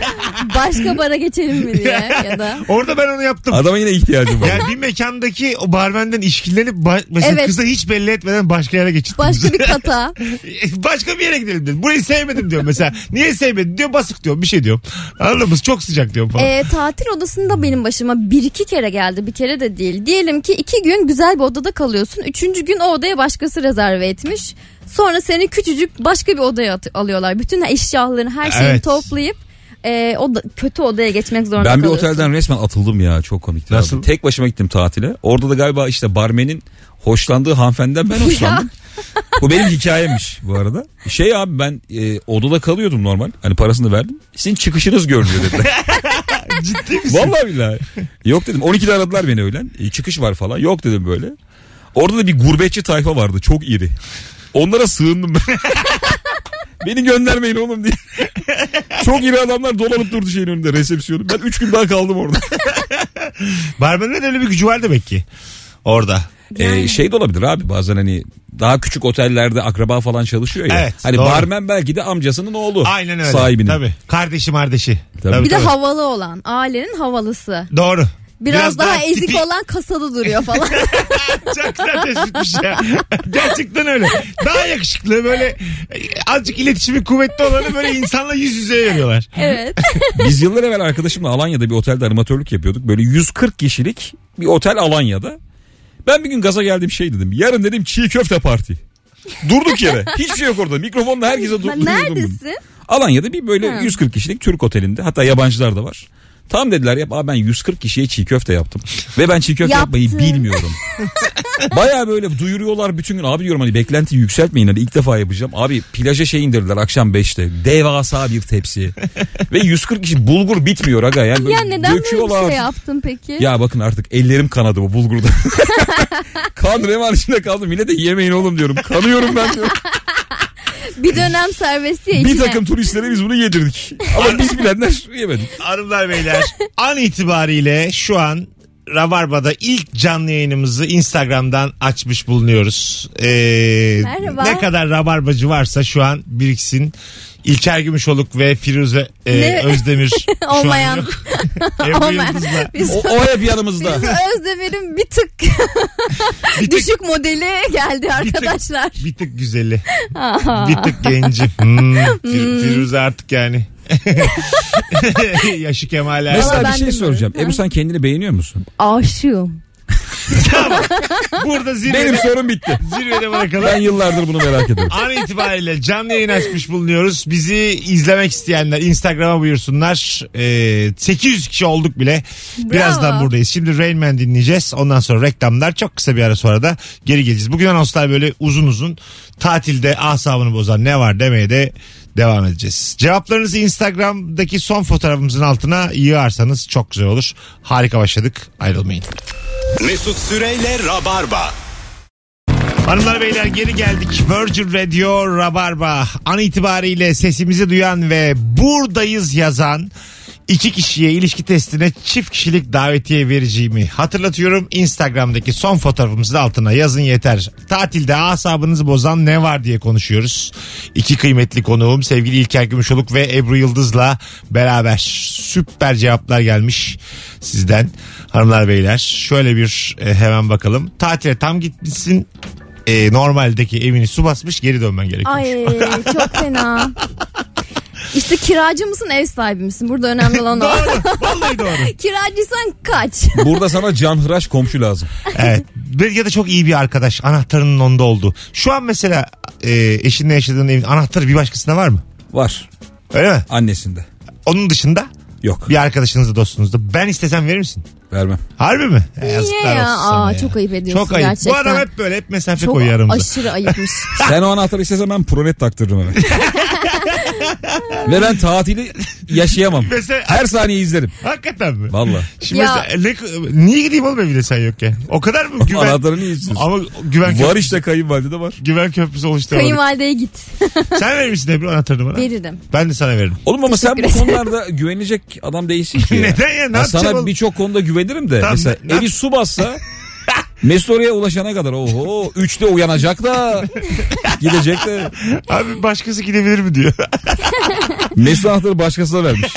Speaker 3: Başka bara geçelim mi diye ya da.
Speaker 2: Orada ben onu yaptım.
Speaker 4: Adama yine ihtiyacım var.
Speaker 2: Yani bir mekandaki o barmenden işkillenip ba- mesela
Speaker 3: Evet.
Speaker 2: kıza hiç belli etmeden başka yere geçirdim.
Speaker 3: Başka bir kata.
Speaker 2: [laughs]
Speaker 4: [laughs]
Speaker 2: başka bir yere gidelim dedim. Burayı sevmedim diyorum mesela. Niye sevmedin diyor basık diyorum bir şey diyorum. Anladın mı? Çok sıcak diyorum falan.
Speaker 3: Ee, tatil odasında benim başıma bir iki kere geldi bir kere de değil. Diyelim ki iki gün güzel bir odada kalıyorsun. Üçüncü gün o odaya başkası rezerve etmiş. Sonra seni küçücük başka bir odaya at- alıyorlar. Bütün eşyalarını her şeyini
Speaker 2: Evet.
Speaker 3: toplayıp e, o da- kötü odaya geçmek zorunda
Speaker 4: Ben bir
Speaker 3: kalıyorsun.
Speaker 4: otelden resmen atıldım ya çok komikti. abi.
Speaker 2: Nasıl?
Speaker 4: Tek başıma gittim tatile. Orada da galiba işte barmenin hoşlandığı hanımefendiden ben hoşlandım. [laughs] Bu benim hikayemmiş bu arada. Şey abi ben e, odada kalıyordum normal. Hani parasını verdim. Sizin çıkışınız görünüyor dediler.
Speaker 2: [laughs] Ciddi misin?
Speaker 4: Vallahi billahi. Yok dedim. 12'de aradılar beni öğlen. E, çıkış var falan. Yok dedim böyle. Orada da bir gurbetçi tayfa vardı. Çok iri. Onlara sığındım ben. [laughs] Beni göndermeyin oğlum diye. Çok iri adamlar dolanıp durdu şeyin önünde resepsiyonu. Ben 3 gün daha kaldım orada.
Speaker 2: Barmenin öyle bir gücü var demek ki. Orada.
Speaker 4: Ee,
Speaker 3: Yani.
Speaker 4: şey de olabilir abi bazen hani daha küçük otellerde akraba falan çalışıyor ya.
Speaker 2: Evet,
Speaker 4: hani
Speaker 2: doğru.
Speaker 4: barmen belki de amcasının oğlu.
Speaker 2: Aynen öyle.
Speaker 4: Sahibinin.
Speaker 2: Tabii. Kardeşi mardeşi.
Speaker 4: Tabii.
Speaker 3: Bir de havalı olan ailenin havalısı.
Speaker 2: Doğru.
Speaker 3: Biraz, daha, ezik
Speaker 2: tipi-
Speaker 3: olan kasada duruyor
Speaker 2: [laughs]
Speaker 3: falan.
Speaker 2: Çok güzel tespitmiş ya. Gerçekten öyle. Daha yakışıklı böyle e, azıcık iletişimi kuvvetli olanı böyle insanla yüz yüze veriyorlar.
Speaker 3: evet.
Speaker 4: [laughs] Biz yıllar evvel arkadaşımla Alanya'da bir otelde animatörlük yapıyorduk. Böyle 140 kişilik bir otel Alanya'da. Ben bir gün gaza geldim şey dedim. Yarın dedim çiğ köfte parti. Durduk yere. Hiçbir şey yok orada. Mikrofonla herkese du- duyurdum.
Speaker 3: Neredesin?
Speaker 4: Alanya'da bir böyle
Speaker 3: Ha.
Speaker 4: 140 kişilik Türk otelinde. Hatta yabancılar da var. Tam dediler yap abi ben 140 kişiye çiğ
Speaker 3: [laughs]
Speaker 4: köfte yaptım. Ve ben çiğ köfte
Speaker 3: Yaptın. [laughs]
Speaker 4: yapmayı bilmiyorum. Baya böyle duyuruyorlar bütün gün. Abi diyorum hani beklentiyi yükseltmeyin hani ilk defa yapacağım. Abi plaja şey indirdiler akşam 5'te. Devasa
Speaker 3: [laughs]
Speaker 4: bir tepsi. Ve 140 kişi bulgur bitmiyor aga. Yani böyle
Speaker 3: Ya neden böyle bir
Speaker 4: döküyorlar.
Speaker 3: şey yaptın peki?
Speaker 4: Ya bakın artık ellerim kanadı
Speaker 3: [laughs]
Speaker 4: bu bulgurda. kan revan içinde kaldım. Yine de yemeyin oğlum diyorum. Kanıyorum
Speaker 3: [laughs]
Speaker 4: ben diyorum.
Speaker 3: Bir dönem serbest ya
Speaker 4: bir
Speaker 3: içine.
Speaker 4: takım turistlere biz bunu yedirdik. Ama biz bilenler yemedik.
Speaker 2: Hanımlar beyler an itibariyle şu an Rabarba'da ilk canlı yayınımızı Instagram'dan açmış bulunuyoruz. Ee,
Speaker 3: Merhaba.
Speaker 2: Ne kadar Rabarbacı varsa şu an biriksin. İlker Gümüşoluk ve Firuze e,
Speaker 3: Ne? [laughs]
Speaker 2: Özdemir şu an
Speaker 3: Olmayan.
Speaker 2: yok. [laughs] Ebru
Speaker 3: Olmayan.
Speaker 2: Yıldız'la
Speaker 3: Biz-
Speaker 4: O, o hep yanımızda.
Speaker 2: [laughs]
Speaker 3: Biz Özdemir'in bir tık, düşük modeli geldi arkadaşlar.
Speaker 2: bir tık güzeli. bir tık genci. Hmm, Fir- Firuze artık yani. [laughs] Yaşı kemale.
Speaker 4: Mesela
Speaker 3: Valla
Speaker 4: bir
Speaker 3: ben
Speaker 4: şey
Speaker 3: de
Speaker 4: soracağım.
Speaker 3: böyle.
Speaker 4: Ebru sen kendini beğeniyor musun?
Speaker 3: Aşığım.
Speaker 2: Burada
Speaker 4: Benim
Speaker 2: zirvede,
Speaker 4: sorum bitti.
Speaker 2: zirvede bırakalım.
Speaker 4: Ben yıllardır bunu merak ediyorum.
Speaker 2: [laughs] An itibariyle canlı yayın açmış bulunuyoruz. Bizi izlemek isteyenler Instagram'a buyursunlar. Ee, 800 kişi olduk bile. Birazdan buradayız. Şimdi Rain Man dinleyeceğiz. Ondan sonra reklamlar. Çok kısa bir ara sonra da geri geleceğiz. Bugün anonslar böyle uzun uzun tatilde asabını bozan ne var demeye de devam edeceğiz. Cevaplarınızı Instagram'daki son fotoğrafımızın altına yığarsanız çok güzel olur. Harika başladık. Ayrılmayın.
Speaker 1: Mesut Süreyle Rabarba.
Speaker 2: Hanımlar beyler geri geldik. Virgin Radio Rabarba. An itibariyle sesimizi duyan ve buradayız yazan iki kişiye ilişki testine çift kişilik davetiye vereceğimi hatırlatıyorum. Instagram'daki son fotoğrafımızın altına yazın yeter. Tatilde asabınızı bozan ne var diye konuşuyoruz. İki kıymetli konuğum sevgili İlker Gümüşoluk ve Ebru Yıldız'la beraber süper cevaplar gelmiş sizden. Hanımlar beyler şöyle bir e, hemen bakalım. Tatile tam gitmişsin e, normaldeki evini su basmış geri dönmen gerekiyor.
Speaker 3: Ay çok fena. İşte kiracı mısın ev sahibi misin? Burada önemli olan
Speaker 2: [laughs]
Speaker 3: o.
Speaker 2: Doğru.
Speaker 3: [laughs]
Speaker 2: Vallahi doğru.
Speaker 3: Kiracıysan kaç.
Speaker 4: Burada sana canhıraş komşu lazım.
Speaker 2: evet. Bir- Ya da çok iyi bir arkadaş. Anahtarının onda oldu. Şu an mesela e, eşinle yaşadığın evin anahtarı bir başkasında var mı?
Speaker 4: Var.
Speaker 2: Öyle mi?
Speaker 4: Annesinde.
Speaker 2: Onun dışında
Speaker 4: Yok.
Speaker 2: bir arkadaşınızda dostunuzda. Ben istesem verir misin?
Speaker 4: Vermem.
Speaker 2: Harbi mi? E,
Speaker 3: Niye
Speaker 2: yazıklar
Speaker 3: ya?
Speaker 2: olsun sana
Speaker 3: Aa,
Speaker 2: ya.
Speaker 3: Çok ayıp ediyorsun
Speaker 2: Çok ayıp.
Speaker 3: gerçekten.
Speaker 2: Bu adam hep böyle hep mesafe [laughs]
Speaker 3: çok
Speaker 2: koyuyor aramıza.
Speaker 3: aşırı ayıpmış.
Speaker 4: Sen o anahtarı istesen ben prolet taktırırım hemen. Ve ben tatili yaşayamam.
Speaker 2: Mesela-
Speaker 4: Her saniye izlerim.
Speaker 2: Hakikaten mi?
Speaker 4: Valla.
Speaker 2: Şimdi
Speaker 3: Ya.
Speaker 2: mesela ne- niye gideyim oğlum evine sen yokken? O kadar mı güven?
Speaker 4: Anahtarı niye istiyorsun?
Speaker 2: Ama güven
Speaker 4: Var
Speaker 2: köprüsü,
Speaker 4: işte kayınvalide de var.
Speaker 2: güven köprüsü oluşturamadık.
Speaker 3: Kayınvalideye git.
Speaker 2: Sen verir misin Ebru anahtarını bana?
Speaker 3: Veririm.
Speaker 2: Ben de sana veririm.
Speaker 4: Oğlum ama sen bu
Speaker 3: Teşekkür
Speaker 4: konularda güvenecek adam değilsin ki
Speaker 2: [laughs]
Speaker 4: ya.
Speaker 2: Neden ya? Ne
Speaker 4: Ben
Speaker 2: yapacağım oğlum?
Speaker 4: sana birçok konuda güvenirim de.
Speaker 2: Tamam,
Speaker 4: mesela
Speaker 2: ne-
Speaker 4: evi
Speaker 2: [laughs]
Speaker 4: su bassa Mesut oraya ulaşana kadar oho üçte
Speaker 2: [laughs]
Speaker 4: uyanacak da gidecek de.
Speaker 2: Abi başkası gidebilir mi diyor. [laughs]
Speaker 4: Mesut anahtarı başkasına vermiş.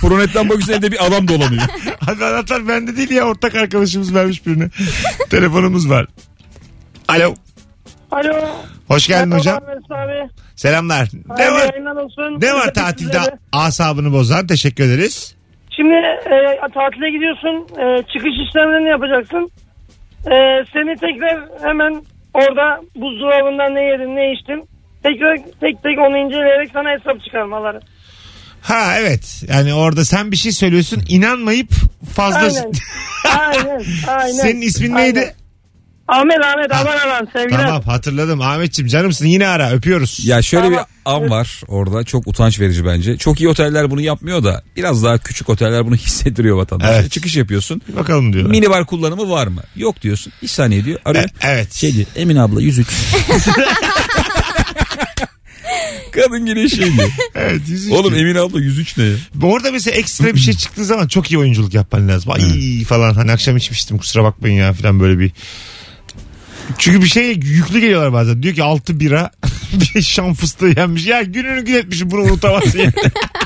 Speaker 4: Pronetten bakıyorsun evde bir adam dolanıyor.
Speaker 2: Abi anahtar bende değil ya ortak arkadaşımız vermiş [laughs] birine. Telefonumuz var. Alo.
Speaker 6: Alo.
Speaker 2: Hoş geldin
Speaker 6: Merhaba
Speaker 2: hocam.
Speaker 6: Mesut abi.
Speaker 2: Selamlar. Ne
Speaker 6: Hayırlı
Speaker 2: var?
Speaker 6: yayınlar olsun.
Speaker 2: Ne var
Speaker 6: Teşekkür
Speaker 2: tatilde
Speaker 6: ederim.
Speaker 2: asabını bozan? Teşekkür ederiz.
Speaker 6: Şimdi e, tatile gidiyorsun. E, çıkış işlemlerini yapacaksın. E, seni tekrar hemen orada buzdolabından ne yedin ne içtin. Tekrar tek tek onu inceleyerek sana hesap çıkarmaları.
Speaker 2: Ha evet. Yani orada sen bir şey söylüyorsun inanmayıp fazla...
Speaker 6: Aynen. aynen.
Speaker 2: [laughs]
Speaker 6: Aynen.
Speaker 2: Senin ismin
Speaker 6: Aynen.
Speaker 2: neydi?
Speaker 6: Ahmet Ahmet aman aman sevgiler.
Speaker 2: Tamam hatırladım. Ahmetçim canımsın yine ara öpüyoruz.
Speaker 4: Ya şöyle
Speaker 6: Ama-
Speaker 4: bir an var orada çok utanç verici bence. Çok iyi oteller bunu yapmıyor da biraz daha küçük oteller bunu [laughs] hissettiriyor vatandaşa.
Speaker 2: Evet.
Speaker 4: Çıkış yapıyorsun.
Speaker 2: Bir Bakalım diyorlar.
Speaker 4: Minibar kullanımı var mı? Yok diyorsun. Bir saniye diyor. Arıyor.
Speaker 2: E- evet.
Speaker 4: Şey diyor Emin abla yüzük. Kadın geliyor şey diyor.
Speaker 2: evet yüz üç
Speaker 4: Oğlum
Speaker 2: diyor.
Speaker 4: Emin abla 103 ne ya?
Speaker 2: Orada mesela ekstra bir şey çıktığı zaman çok iyi oyunculuk yapman lazım. Ay falan hani akşam içmiştim kusura bakmayın ya falan böyle bir. Çünkü bir şey yüklü geliyorlar bazen. Diyor ki 6 bira [laughs] bir şam fıstığı yenmiş. Ya gününü gün etmişim bunu unutamazsın. ya.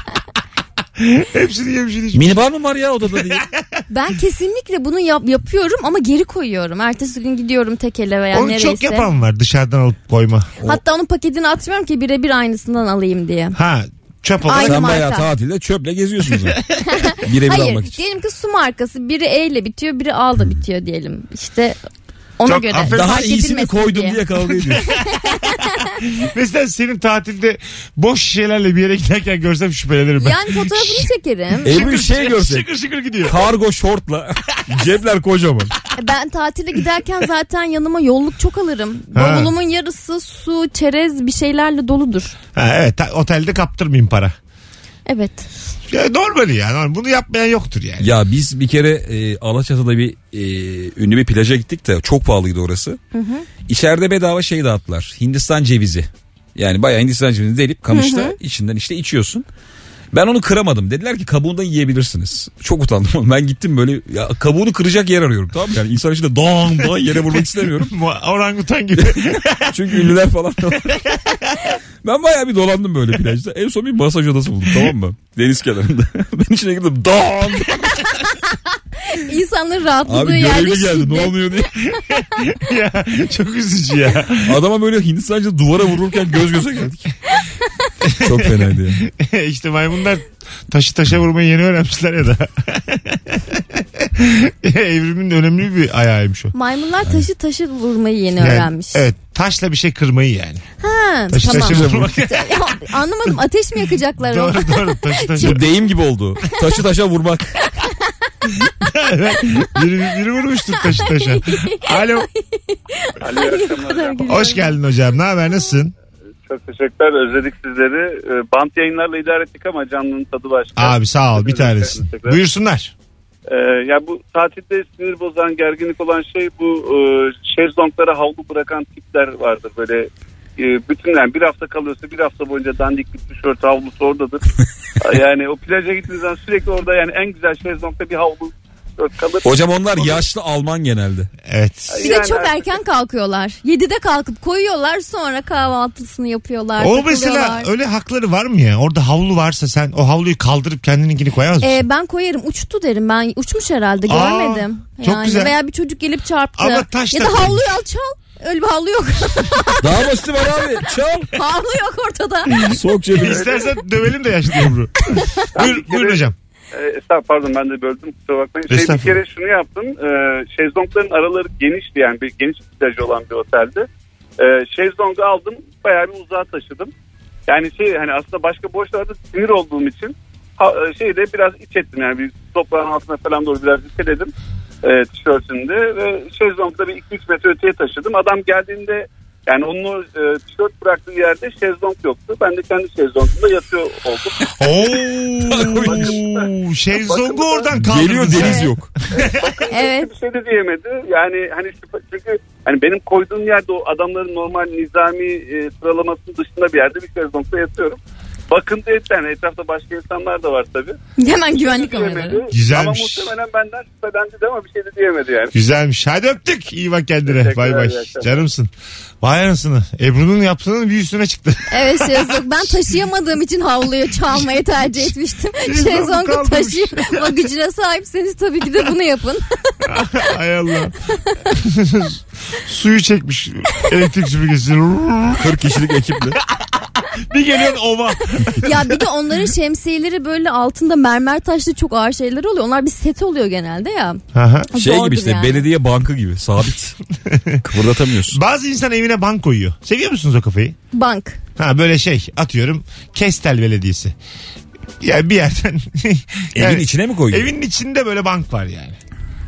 Speaker 2: [laughs] Hepsini yemişsin içmişsin.
Speaker 4: Minibar mı var ya odada diye. [clears throat]
Speaker 3: Ben kesinlikle bunu yap- yapıyorum ama geri koyuyorum. Ertesi gün gidiyorum tekele veya
Speaker 2: Onu
Speaker 3: nereyse.
Speaker 2: çok yapan var dışarıdan alıp koyma.
Speaker 3: Hatta onun paketini atmıyorum ki birebir aynısından alayım diye.
Speaker 2: Ha çöp olarak.
Speaker 3: [laughs] Aynı
Speaker 4: Sen bayağı
Speaker 3: marka.
Speaker 4: tatilde çöple geziyorsunuz.
Speaker 3: [laughs]
Speaker 4: Birebir almak
Speaker 3: Hayır
Speaker 4: için.
Speaker 3: diyelim ki su markası biri E ile bitiyor biri A ile bitiyor diyelim. İşte ona
Speaker 2: Çok
Speaker 3: göre
Speaker 2: affedersin.
Speaker 4: Daha
Speaker 3: fark
Speaker 4: iyisini
Speaker 3: edilmesin
Speaker 4: koydum diye kavga ediyorsun.
Speaker 2: Mesela senin tatilde boş şişelerle bir yere giderken görsem şüphelenirim ben.
Speaker 3: Yani fotoğrafını
Speaker 4: [laughs]
Speaker 3: çekerim.
Speaker 4: Ebru şey görsek.
Speaker 2: Şıkır şıkır gidiyor.
Speaker 3: [laughs]
Speaker 4: Kargo şortla. Cepler kocaman.
Speaker 3: E, Ben tatile giderken zaten yanıma yolluk çok alırım.
Speaker 2: Ha.
Speaker 3: Bavulumun yarısı su, çerez bir şeylerle doludur.
Speaker 2: Ha, evet ta- otelde kaptırmayayım para.
Speaker 3: Evet.
Speaker 2: Ya normali ya. normal. Bunu yapmayan yoktur yani.
Speaker 4: Ya biz bir kere e, Alaçatı'da bir e, ünlü bir plaja gittik de çok pahalıydı orası. İçeride bedava şey dağıttılar. Hindistan cevizi. Yani bayağı Hindistan cevizini delip kamışta içinden işte içiyorsun. Ben onu kıramadım. Dediler ki kabuğundan yiyebilirsiniz. Çok utandım. [laughs] Ben gittim böyle ya, kabuğunu kıracak yer arıyorum. Tamam mı? yani insan içinde dağın dağın yere vurmak
Speaker 2: [laughs]
Speaker 4: istemiyorum.
Speaker 2: Ma- Orangutan gibi. [laughs]
Speaker 4: Çünkü ünlüler falan da var. Ben bayağı bir dolandım böyle plajda. En son bir masaj odası buldum tamam mı? Deniz kenarında. [laughs] Ben içine girdim dağın.
Speaker 3: İnsanların rahatladığı
Speaker 4: Abi
Speaker 3: yerde
Speaker 4: görevli geldi ne
Speaker 3: şiddet.
Speaker 4: oluyor diye.
Speaker 2: ya, çok üzücü ya. [laughs]
Speaker 4: Adama böyle Hindistan'ca duvara vururken göz göze [laughs] geldik. Çok fenaydı ya.
Speaker 2: işte maymunlar taşı taşa vurmayı yeni öğrenmişler ya da. [laughs] Evrimin önemli bir ayağıymış o.
Speaker 3: Maymunlar taşı taşı vurmayı yeni
Speaker 2: Yani,
Speaker 3: öğrenmiş.
Speaker 2: Evet taşla bir şey kırmayı yani.
Speaker 3: Ha,
Speaker 2: Taşı
Speaker 3: tamam.
Speaker 2: taşa vurmak.
Speaker 3: [laughs] Ya, anlamadım ateş mi yakacaklar onu?
Speaker 2: doğru doğru taşı
Speaker 3: [laughs]
Speaker 2: taşa.
Speaker 4: Bu deyim gibi oldu. Taşı taşa vurmak.
Speaker 2: biri, biri vurmuştu taşı taşa. Alo
Speaker 7: Alo, iyi akşamlar.
Speaker 2: hoş geldin hocam ne haber nasılsın?
Speaker 7: Çok teşekkürler. Özledik sizleri. Ee, Bant yayınlarla idare ettik ama canlının tadı başka.
Speaker 2: Abi sağ ol bir tanesin.
Speaker 7: Teşekkürler.
Speaker 2: Buyursunlar.
Speaker 7: Ee, ya bu tatilde sinir bozan, gerginlik olan şey bu e, şezlonglara havlu bırakan tipler vardır. Böyle e, bütün yani bir hafta kalıyorsa bir hafta boyunca dandik bir tişört havlusu oradadır. yani o plaja gittiğiniz zaman sürekli orada yani en güzel şezlongda bir havlu tişört kalır.
Speaker 4: Hocam onlar yaşlı Alman genelde.
Speaker 2: Evet.
Speaker 3: Bir de
Speaker 7: Yani
Speaker 3: çok
Speaker 7: artık-
Speaker 3: erken kalkıyorlar. 7'de kalkıp koyuyorlar sonra kahvaltısını yapıyorlar.
Speaker 2: O mesela
Speaker 3: takılıyorlar.
Speaker 2: öyle hakları var mı ya? Orada havlu varsa sen o havluyu kaldırıp kendininkini koyamaz mısın?
Speaker 3: Ee, ben koyarım uçtu derim ben uçmuş herhalde
Speaker 2: Aa,
Speaker 3: görmedim.
Speaker 2: çok güzel.
Speaker 3: Veya bir çocuk gelip çarptı.
Speaker 2: Ama taş
Speaker 3: ya
Speaker 2: da-
Speaker 3: da havluyu al çal. Öyle bir havlu yok. [laughs]
Speaker 4: Daha basit var abi. Çal.
Speaker 3: havlu yok
Speaker 2: [laughs]
Speaker 3: ortada.
Speaker 4: Sok cebine.
Speaker 2: İstersen dövelim de yaşlı Ebru. buyur,
Speaker 7: kere-
Speaker 2: buyurun hocam.
Speaker 7: Ee, estağfurullah, pardon ben de böldüm kusura bakmayın. Şey, bir
Speaker 2: Estağfurullah.
Speaker 7: kere şunu yaptım. Ee, şezlongların araları genişti yani bir geniş bir plaj olan bir otelde. Ee, şezlongu aldım bayağı bir uzağa taşıdım. Yani şey hani aslında başka boşlarda sinir olduğum için ha, e, şeyi de biraz iç ettim yani bir toprağın altına falan doğru biraz iteledim e, tişörtünde ve şezlongda bir 2-3 metre öteye taşıdım. Adam geldiğinde Yani onun o e, tişört bıraktığı yerde şezlong yoktu. Ben de kendi şezlongumda yatıyor oldum.
Speaker 2: Oo, şezlongu oradan kaldırdınız.
Speaker 4: Geliyor deniz yok.
Speaker 3: Evet.
Speaker 7: bir şey de diyemedi. Yani hani şüphe- çünkü hani benim koyduğum yerde o adamların normal nizami e, sıralamasının dışında bir yerde bir şezlongda yatıyorum. Bakındı etti. Yani etrafta başka insanlar da var tabii.
Speaker 3: Hemen güvenlik
Speaker 7: Diyemedi.
Speaker 3: kameraları.
Speaker 7: Ama
Speaker 2: Güzelmiş.
Speaker 7: muhtemelen benden şüphelendi de ama bir şey de diyemedi yani.
Speaker 2: Güzelmiş. Hadi öptük. İyi bak kendine. Bay bay.
Speaker 7: iyi akşamlar.
Speaker 2: Canımsın. Vay anasını. Ebru'nun yaptığının bir üstüne çıktı.
Speaker 3: Evet şezlong. Ben taşıyamadığım için havluyu çalmayı tercih etmiştim. Şey Şezlongu
Speaker 2: kalmamış.
Speaker 3: taşıyama gücüne sahipseniz tabii ki de bunu yapın.
Speaker 2: Ay Allah. [laughs] Suyu çekmiş elektrik süpürgesi.
Speaker 4: 40 kişilik ekiple.
Speaker 2: bir geliyorsun ova.
Speaker 3: ya bir de onların şemsiyeleri böyle altında mermer taşlı çok ağır şeyler oluyor. Onlar bir set oluyor genelde ya.
Speaker 2: Aha.
Speaker 4: Şey
Speaker 3: Zordur
Speaker 4: gibi işte
Speaker 3: yani.
Speaker 4: belediye bankı gibi sabit. Kıpırdatamıyorsun.
Speaker 2: Bazı insan evine bank koyuyor. Seviyor musunuz o kafayı?
Speaker 3: Bank.
Speaker 2: Ha böyle şey atıyorum. Kestel Belediyesi. Yani bir yerden. [laughs]
Speaker 4: Evin içine mi koyuyor?
Speaker 2: Evinin içinde böyle bank var yani.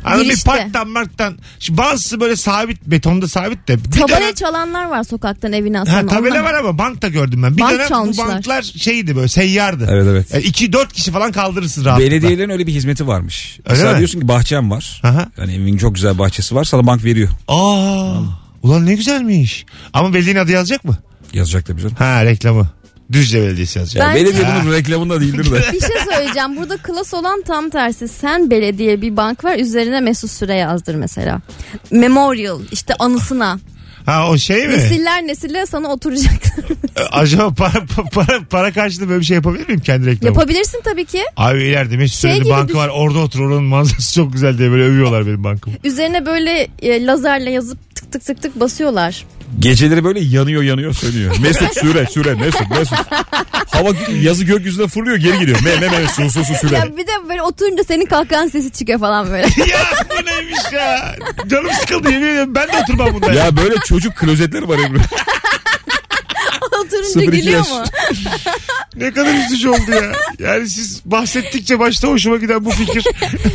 Speaker 2: Anladın mı? bir
Speaker 3: Girişte.
Speaker 2: parktan marktan. Şimdi bazısı böyle sabit betonda sabit de. Bir
Speaker 3: Tabela
Speaker 2: dönem-
Speaker 3: çalanlar var sokaktan evine
Speaker 2: Ha,
Speaker 3: aslında.
Speaker 2: tabela
Speaker 3: Onlar-
Speaker 2: var ama bank da gördüm ben. Bir
Speaker 3: Bank
Speaker 2: dönem
Speaker 3: çalmışlar.
Speaker 2: bu banklar şeydi böyle seyyardı.
Speaker 4: Evet, evet.
Speaker 2: 2-4 kişi falan kaldırırsın rahatlıkla.
Speaker 4: Belediyelerin öyle bir hizmeti varmış.
Speaker 2: Öyle
Speaker 4: Mesela
Speaker 2: mi?
Speaker 4: diyorsun ki bahçem var.
Speaker 2: Aha.
Speaker 4: Yani evin çok güzel bahçesi var. Sana bank veriyor.
Speaker 2: Aa, ulan ne güzelmiş. Ama belediyenin adı yazacak mı?
Speaker 4: Yazacak tabii canım.
Speaker 2: Ha reklamı. Düzce Belediyesi yazacak.
Speaker 4: Ya
Speaker 3: Bence-
Speaker 4: belediye bunun reklamında değildir de.
Speaker 3: Bir şey söyleyeceğim. Burada klas olan tam tersi. Sen belediye bir bank var üzerine Mesut Süre yazdır mesela. Memorial işte anısına.
Speaker 2: Ha o şey mi?
Speaker 3: Nesiller nesiller sana oturacak.
Speaker 2: Ee, Acaba para, [laughs] para, para karşılığı böyle bir şey yapabilir miyim kendi reklamı?
Speaker 3: [laughs] Yapabilirsin tabii ki.
Speaker 2: Abi ileride Mesut
Speaker 3: Şey
Speaker 2: Süren'in
Speaker 3: gibi
Speaker 2: banka
Speaker 3: düşün-
Speaker 2: var orada otur oranın manzarası çok güzel diye böyle övüyorlar benim bankamı.
Speaker 3: Üzerine böyle e, lazerle yazıp tık tık tık tık basıyorlar.
Speaker 4: Geceleri böyle yanıyor
Speaker 3: [laughs]
Speaker 4: yanıyor sönüyor. Mesut süre süre Mesut Mesut. Hava yazı gökyüzüne fırlıyor geri gidiyor. Me me me su su su süre.
Speaker 3: Ya bir de böyle oturunca senin kahkahan sesi çıkıyor falan böyle.
Speaker 2: [laughs]
Speaker 3: [laughs]
Speaker 2: ya bu neymiş ya? Canım sıkıldı yemin ediyorum ben de oturmam bunda.
Speaker 4: Ya böyle çocuk
Speaker 3: [laughs]
Speaker 4: klozetleri var Ebru.
Speaker 3: oturunca
Speaker 4: 02
Speaker 3: gülüyor
Speaker 4: yaş.
Speaker 3: mu?
Speaker 2: Ne kadar üzücü oldu ya. Yani siz bahsettikçe başta hoşuma giden bu
Speaker 3: [laughs]
Speaker 2: fikir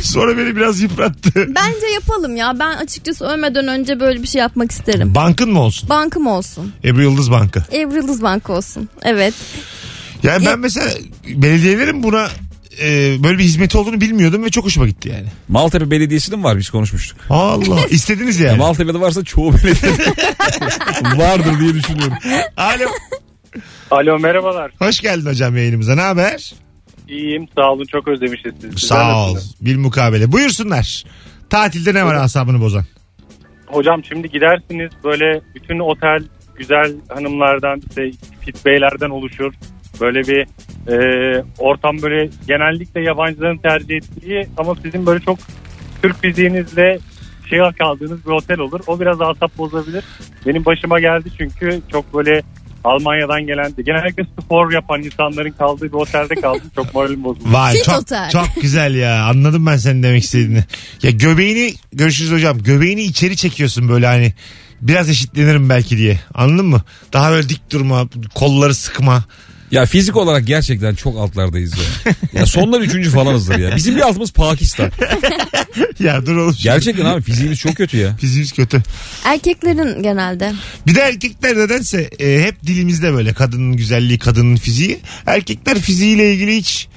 Speaker 2: sonra beni biraz yıprattı.
Speaker 3: Bence yapalım ya. Ben açıkçası ölmeden önce böyle bir şey yapmak isterim.
Speaker 2: Bankın mı olsun?
Speaker 3: Bankım olsun.
Speaker 2: Ebru Yıldız Bankı.
Speaker 3: Evrilız Bank olsun. Evet.
Speaker 2: Yani
Speaker 3: Ya-
Speaker 2: ben mesela belediyelerin buna e, böyle bir hizmeti olduğunu bilmiyordum ve çok hoşuma gitti yani.
Speaker 4: Maltepe Belediyesi'nin var biz konuşmuştuk.
Speaker 3: [laughs]
Speaker 2: Allah istediniz
Speaker 4: Ya
Speaker 2: yani.
Speaker 4: Maltepe'de varsa çoğu belediye [laughs] vardır diye düşünüyorum.
Speaker 2: Alo.
Speaker 5: Alo merhabalar.
Speaker 2: Hoş geldin hocam yayınımıza. Ne haber?
Speaker 5: İyiyim sağ olun çok özlemişiz sizi.
Speaker 2: Sağ ol. Bil mukabele. Buyursunlar. Tatilde ne var asabını bozan?
Speaker 5: Hocam şimdi gidersiniz böyle bütün otel güzel hanımlardan işte fit beylerden oluşur. Böyle bir e, ortam böyle genellikle yabancıların tercih ettiği ama sizin böyle çok Türk fiziğinizle şey kaldığınız bir otel olur. O biraz asap bozabilir. Benim başıma geldi çünkü çok böyle Almanya'dan gelen genellikle spor yapan insanların kaldığı bir otelde kaldım. Çok moralim bozuldu.
Speaker 2: Vay
Speaker 3: Fit
Speaker 2: çok,
Speaker 3: otel.
Speaker 2: çok güzel ya. Anladım ben senin demek istediğini. Ya göbeğini görüşürüz hocam. Göbeğini içeri çekiyorsun böyle hani. Biraz eşitlenirim belki diye. Anladın mı? Daha böyle dik durma, kolları sıkma. [laughs]
Speaker 4: Ya fizik olarak gerçekten çok altlardayız ya. Ya sonlar üçüncü falanızdır ya. Bizim bir altımız Pakistan.
Speaker 2: Ya dur oğlum.
Speaker 4: Gerçekten abi fiziğimiz çok kötü ya.
Speaker 2: Fiziğimiz kötü.
Speaker 3: Erkeklerin genelde.
Speaker 2: Bir de erkekler nedense e, hep dilimizde böyle kadının güzelliği, kadının fiziği. Erkekler fiziğiyle ilgili hiç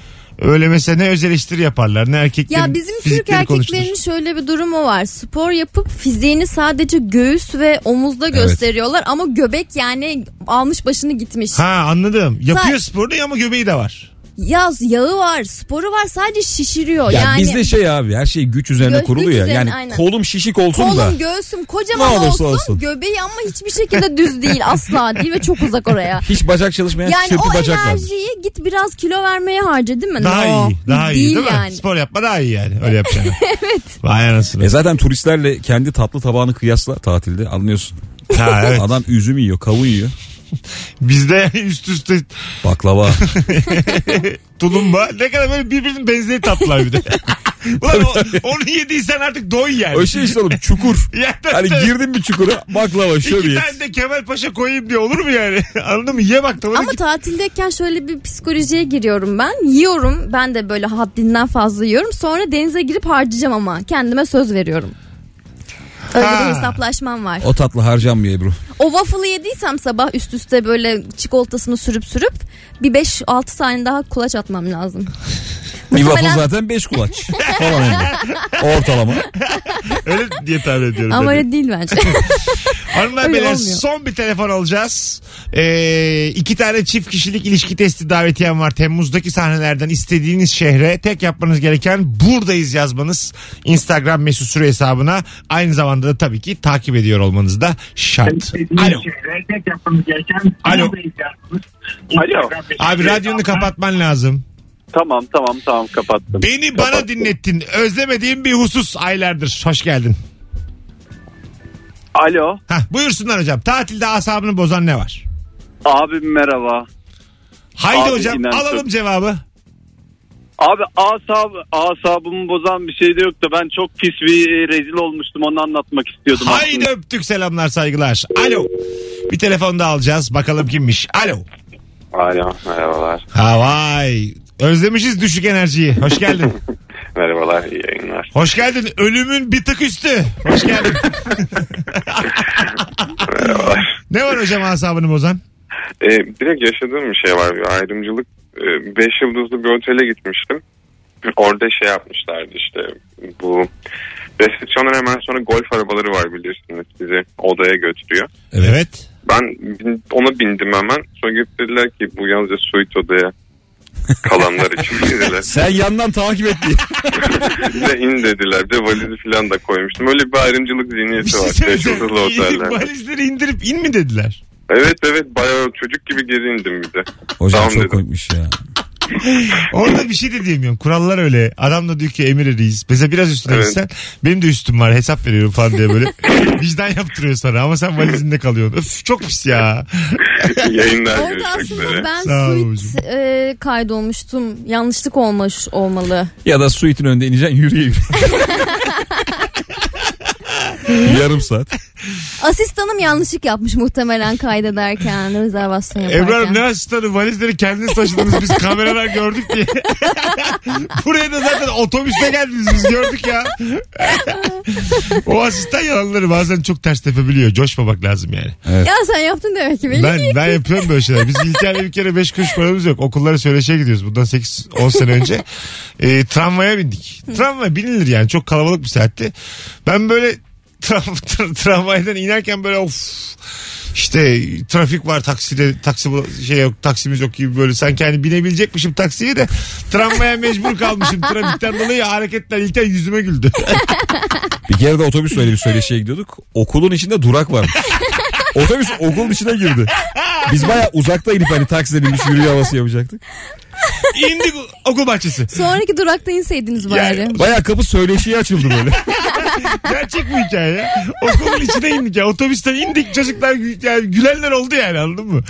Speaker 2: öyle mesela ne öz eleştiri yaparlar ne erkeklerin
Speaker 3: Ya bizim Türk
Speaker 2: fizikleri konuşulur.
Speaker 3: erkeklerinin şöyle bir durumu var. Spor yapıp fiziğini sadece göğüs ve omuzda gösteriyorlar ama göbek yani almış başını gitmiş.
Speaker 2: Ha anladım. Yapıyor
Speaker 3: Sa-
Speaker 2: sporunu ama göbeği de var.
Speaker 3: Yaz yağı var, sporu var sadece şişiriyor.
Speaker 4: Ya
Speaker 3: yani
Speaker 4: bizde şey abi her şey güç üzerine
Speaker 3: Gö-
Speaker 4: kurulu
Speaker 3: güç
Speaker 4: ya.
Speaker 3: üzerine,
Speaker 4: yani
Speaker 3: aynen.
Speaker 4: kolum şişik olsun da.
Speaker 3: kolum, göğsüm kocaman
Speaker 4: Ne olursa
Speaker 3: olsun,
Speaker 4: olsun.
Speaker 3: göbeği ama hiçbir şekilde düz değil asla değil ve çok uzak oraya.
Speaker 4: Hiç bacak çalışmayan
Speaker 3: Yani
Speaker 2: şey,
Speaker 4: çırpı
Speaker 3: o
Speaker 4: bacak var.
Speaker 3: enerjiyi git biraz kilo vermeye harca değil mi?
Speaker 2: Daha
Speaker 3: No,
Speaker 2: iyi. Daha iyi değil mi?
Speaker 3: yani.
Speaker 2: Spor yapma daha iyi yani. Öyle yapacağını.
Speaker 3: [laughs]
Speaker 2: evet. Vay anasını.
Speaker 4: E zaten turistlerle kendi tatlı tabağını kıyasla tatilde anlıyorsun.
Speaker 2: Ha, evet.
Speaker 4: Adam üzüm yiyor, kavun yiyor.
Speaker 2: Bizde [laughs] üst üste
Speaker 4: Baklava.
Speaker 2: [laughs] tulumba. Ne kadar böyle birbirinin benzeri tatlılar
Speaker 3: [laughs]
Speaker 2: bir de. Ulan o- onu yediysen artık doy yani.
Speaker 4: o şey işte oğlum çukur.
Speaker 2: [laughs] Ya,
Speaker 4: Hani girdin bir çukura baklava
Speaker 2: İki
Speaker 4: şöyle.
Speaker 2: tane de Kemal Paşa koyayım diye olur mu yani? [laughs] Anladın mı? Ye bak tamam.
Speaker 3: Ama tatildeyken şöyle bir psikolojiye giriyorum ben. Yiyorum. Ben de böyle haddinden fazla yiyorum. Sonra denize girip harcayacağım ama. Kendime söz veriyorum. Öyle
Speaker 2: Ha.
Speaker 3: bir hesaplaşmam var.
Speaker 4: O tatlı harcanmıyor Ebru.
Speaker 3: O waffle'ı yediysem sabah üst üste böyle çikolatasını sürüp sürüp bir 5-6 tane daha kulaç
Speaker 2: [laughs]
Speaker 3: atmam lazım.
Speaker 4: Bir
Speaker 3: Muhtemelen-
Speaker 4: waffle zaten 5 kulaç falan yani. Ortalama.
Speaker 2: Öyle diye tahmin ediyorum.
Speaker 3: Ama
Speaker 2: ben de.
Speaker 3: öyle değil bence.
Speaker 2: Hanımlar
Speaker 3: Öyle
Speaker 2: beyler
Speaker 3: olmuyor.
Speaker 2: son bir telefon alacağız. Ee, iki tane çift kişilik ilişki testi davetiyem var. Temmuz'daki sahnelerden istediğiniz şehre tek yapmanız gereken buradayız yazmanız. Instagram mesut süre hesabına. Aynı zamanda da tabii ki takip ediyor olmanız da şart. Alo. Alo.
Speaker 7: Alo.
Speaker 2: Abi radyonu kapatman lazım.
Speaker 7: Tamam tamam tamam kapattım.
Speaker 2: Beni bana
Speaker 7: Kapattım.
Speaker 2: dinlettin. Özlemediğim bir husus aylardır. Hoş geldin.
Speaker 7: Alo.
Speaker 2: Hah, buyursunlar hocam. Tatilde asabını bozan ne var?
Speaker 7: Abim merhaba.
Speaker 2: Haydi
Speaker 7: Abi
Speaker 2: hocam
Speaker 7: inan
Speaker 2: alalım
Speaker 7: çok-
Speaker 2: cevabı.
Speaker 7: Abi asab, asabımı bozan bir şey de yok da ben çok pis bir rezil olmuştum onu anlatmak istiyordum.
Speaker 2: Haydi
Speaker 7: aslında.
Speaker 2: öptük selamlar saygılar. Alo. Bir telefon daha alacağız. Bakalım kimmiş. Alo.
Speaker 8: Alo merhabalar.
Speaker 2: Ha vay. Özlemişiz düşük enerjiyi. Hoş geldin.
Speaker 8: Merhabalar iyi yayınlar.
Speaker 2: Hoş geldin. Ölümün bir tık üstü. Hoş geldin.
Speaker 8: Merhabalar.
Speaker 2: ne var hocam asabını bozan?
Speaker 8: Ee, direkt yaşadığım bir şey var bir ayrımcılık. 5 yıldızlı bir otele gitmiştim. Orada şey yapmışlardı işte bu resepsiyonun hemen sonra golf arabaları var bilirsiniz bizi odaya götürüyor.
Speaker 2: Evet.
Speaker 8: Ben bin- ona bindim hemen sonra gidip dediler ki bu yalnızca suite odaya kalanlar için dediler.
Speaker 4: Sen yandan takip et diye.
Speaker 8: Bir de in dediler bir de valizi falan da koymuştum. Öyle bir ayrımcılık
Speaker 2: Bir
Speaker 8: zihniyeti
Speaker 2: şey
Speaker 8: var. 5
Speaker 2: söyleyeceğim.
Speaker 8: yıldızlı otellerde.
Speaker 2: [laughs] Valizleri indirip in mi dediler?
Speaker 8: Evet evet bayağı çocuk gibi geri indim bir de. [laughs]
Speaker 4: Hocam
Speaker 8: Tamam
Speaker 4: çok
Speaker 8: dedim.
Speaker 4: koymuş ya.
Speaker 2: Orada bir şey de diyemiyorum. Kurallar öyle. Adam da diyor ki emir eriyiz. Mesela biraz üstüne
Speaker 8: Evet.
Speaker 2: gitsen benim de üstüm var hesap veriyorum falan diye böyle. Vicdan yaptırıyor sana ama sen valizinde kalıyorsun. Öf çok pis ya.
Speaker 8: Yayınlar
Speaker 3: Orada
Speaker 8: görüşmek üzere.
Speaker 3: aslında ben
Speaker 2: Sağ ol
Speaker 3: suit e, kaydolmuştum. Yanlışlık olmuş olmalı.
Speaker 4: Ya da suite'in önünde ineceksin yürüye
Speaker 2: [laughs]
Speaker 4: yürüye. Yarım saat.
Speaker 3: Asistanım yanlışlık yapmış muhtemelen kaydederken, rezervasyon yaparken.
Speaker 2: Ebru Hanım ne asistanı valizleri kendiniz taşıdınız biz kameralar gördük diye. [laughs] Buraya da zaten otobüste geldiniz biz gördük ya. o asistan yalanları bazen çok ters tepebiliyor. Coşmamak lazım yani.
Speaker 3: Ya sen yaptın demek ki. Benim
Speaker 2: Ben, ben yapıyorum böyle şeyler. Biz İlker'le bir kere 5 kuruş paramız yok. Okullara söyleşe gidiyoruz. Bundan 8-10 sene önce. Ee, tramvaya bindik. Tramvay binilir yani. Çok kalabalık bir saatti. Ben böyle tram, [laughs] tra- tramvaydan inerken böyle of işte trafik var takside taksi şey yok taksimiz yok gibi böyle sanki hani binebilecekmişim taksiye de tramvaya mecbur kalmışım trafikten dolayı hareketler İlker yüzüme güldü.
Speaker 4: Bir kere de otobüs öyle bir söyleşiye gidiyorduk. Okulun içinde
Speaker 2: [laughs]
Speaker 4: durak varmış. Otobüs okulun içine girdi. Biz baya uzakta inip hani takside binmiş yürüye havası yapacaktık.
Speaker 2: İndik okul bahçesi.
Speaker 3: Sonraki durakta inseydiniz bari.
Speaker 4: Baya kapı söyleşiye
Speaker 2: [laughs]
Speaker 4: açıldı böyle.
Speaker 2: Gerçek bu hikaye ya. Okulun içine indik ya. Otobüsten indik çocuklar gü- yani gülenler oldu yani anladın mı?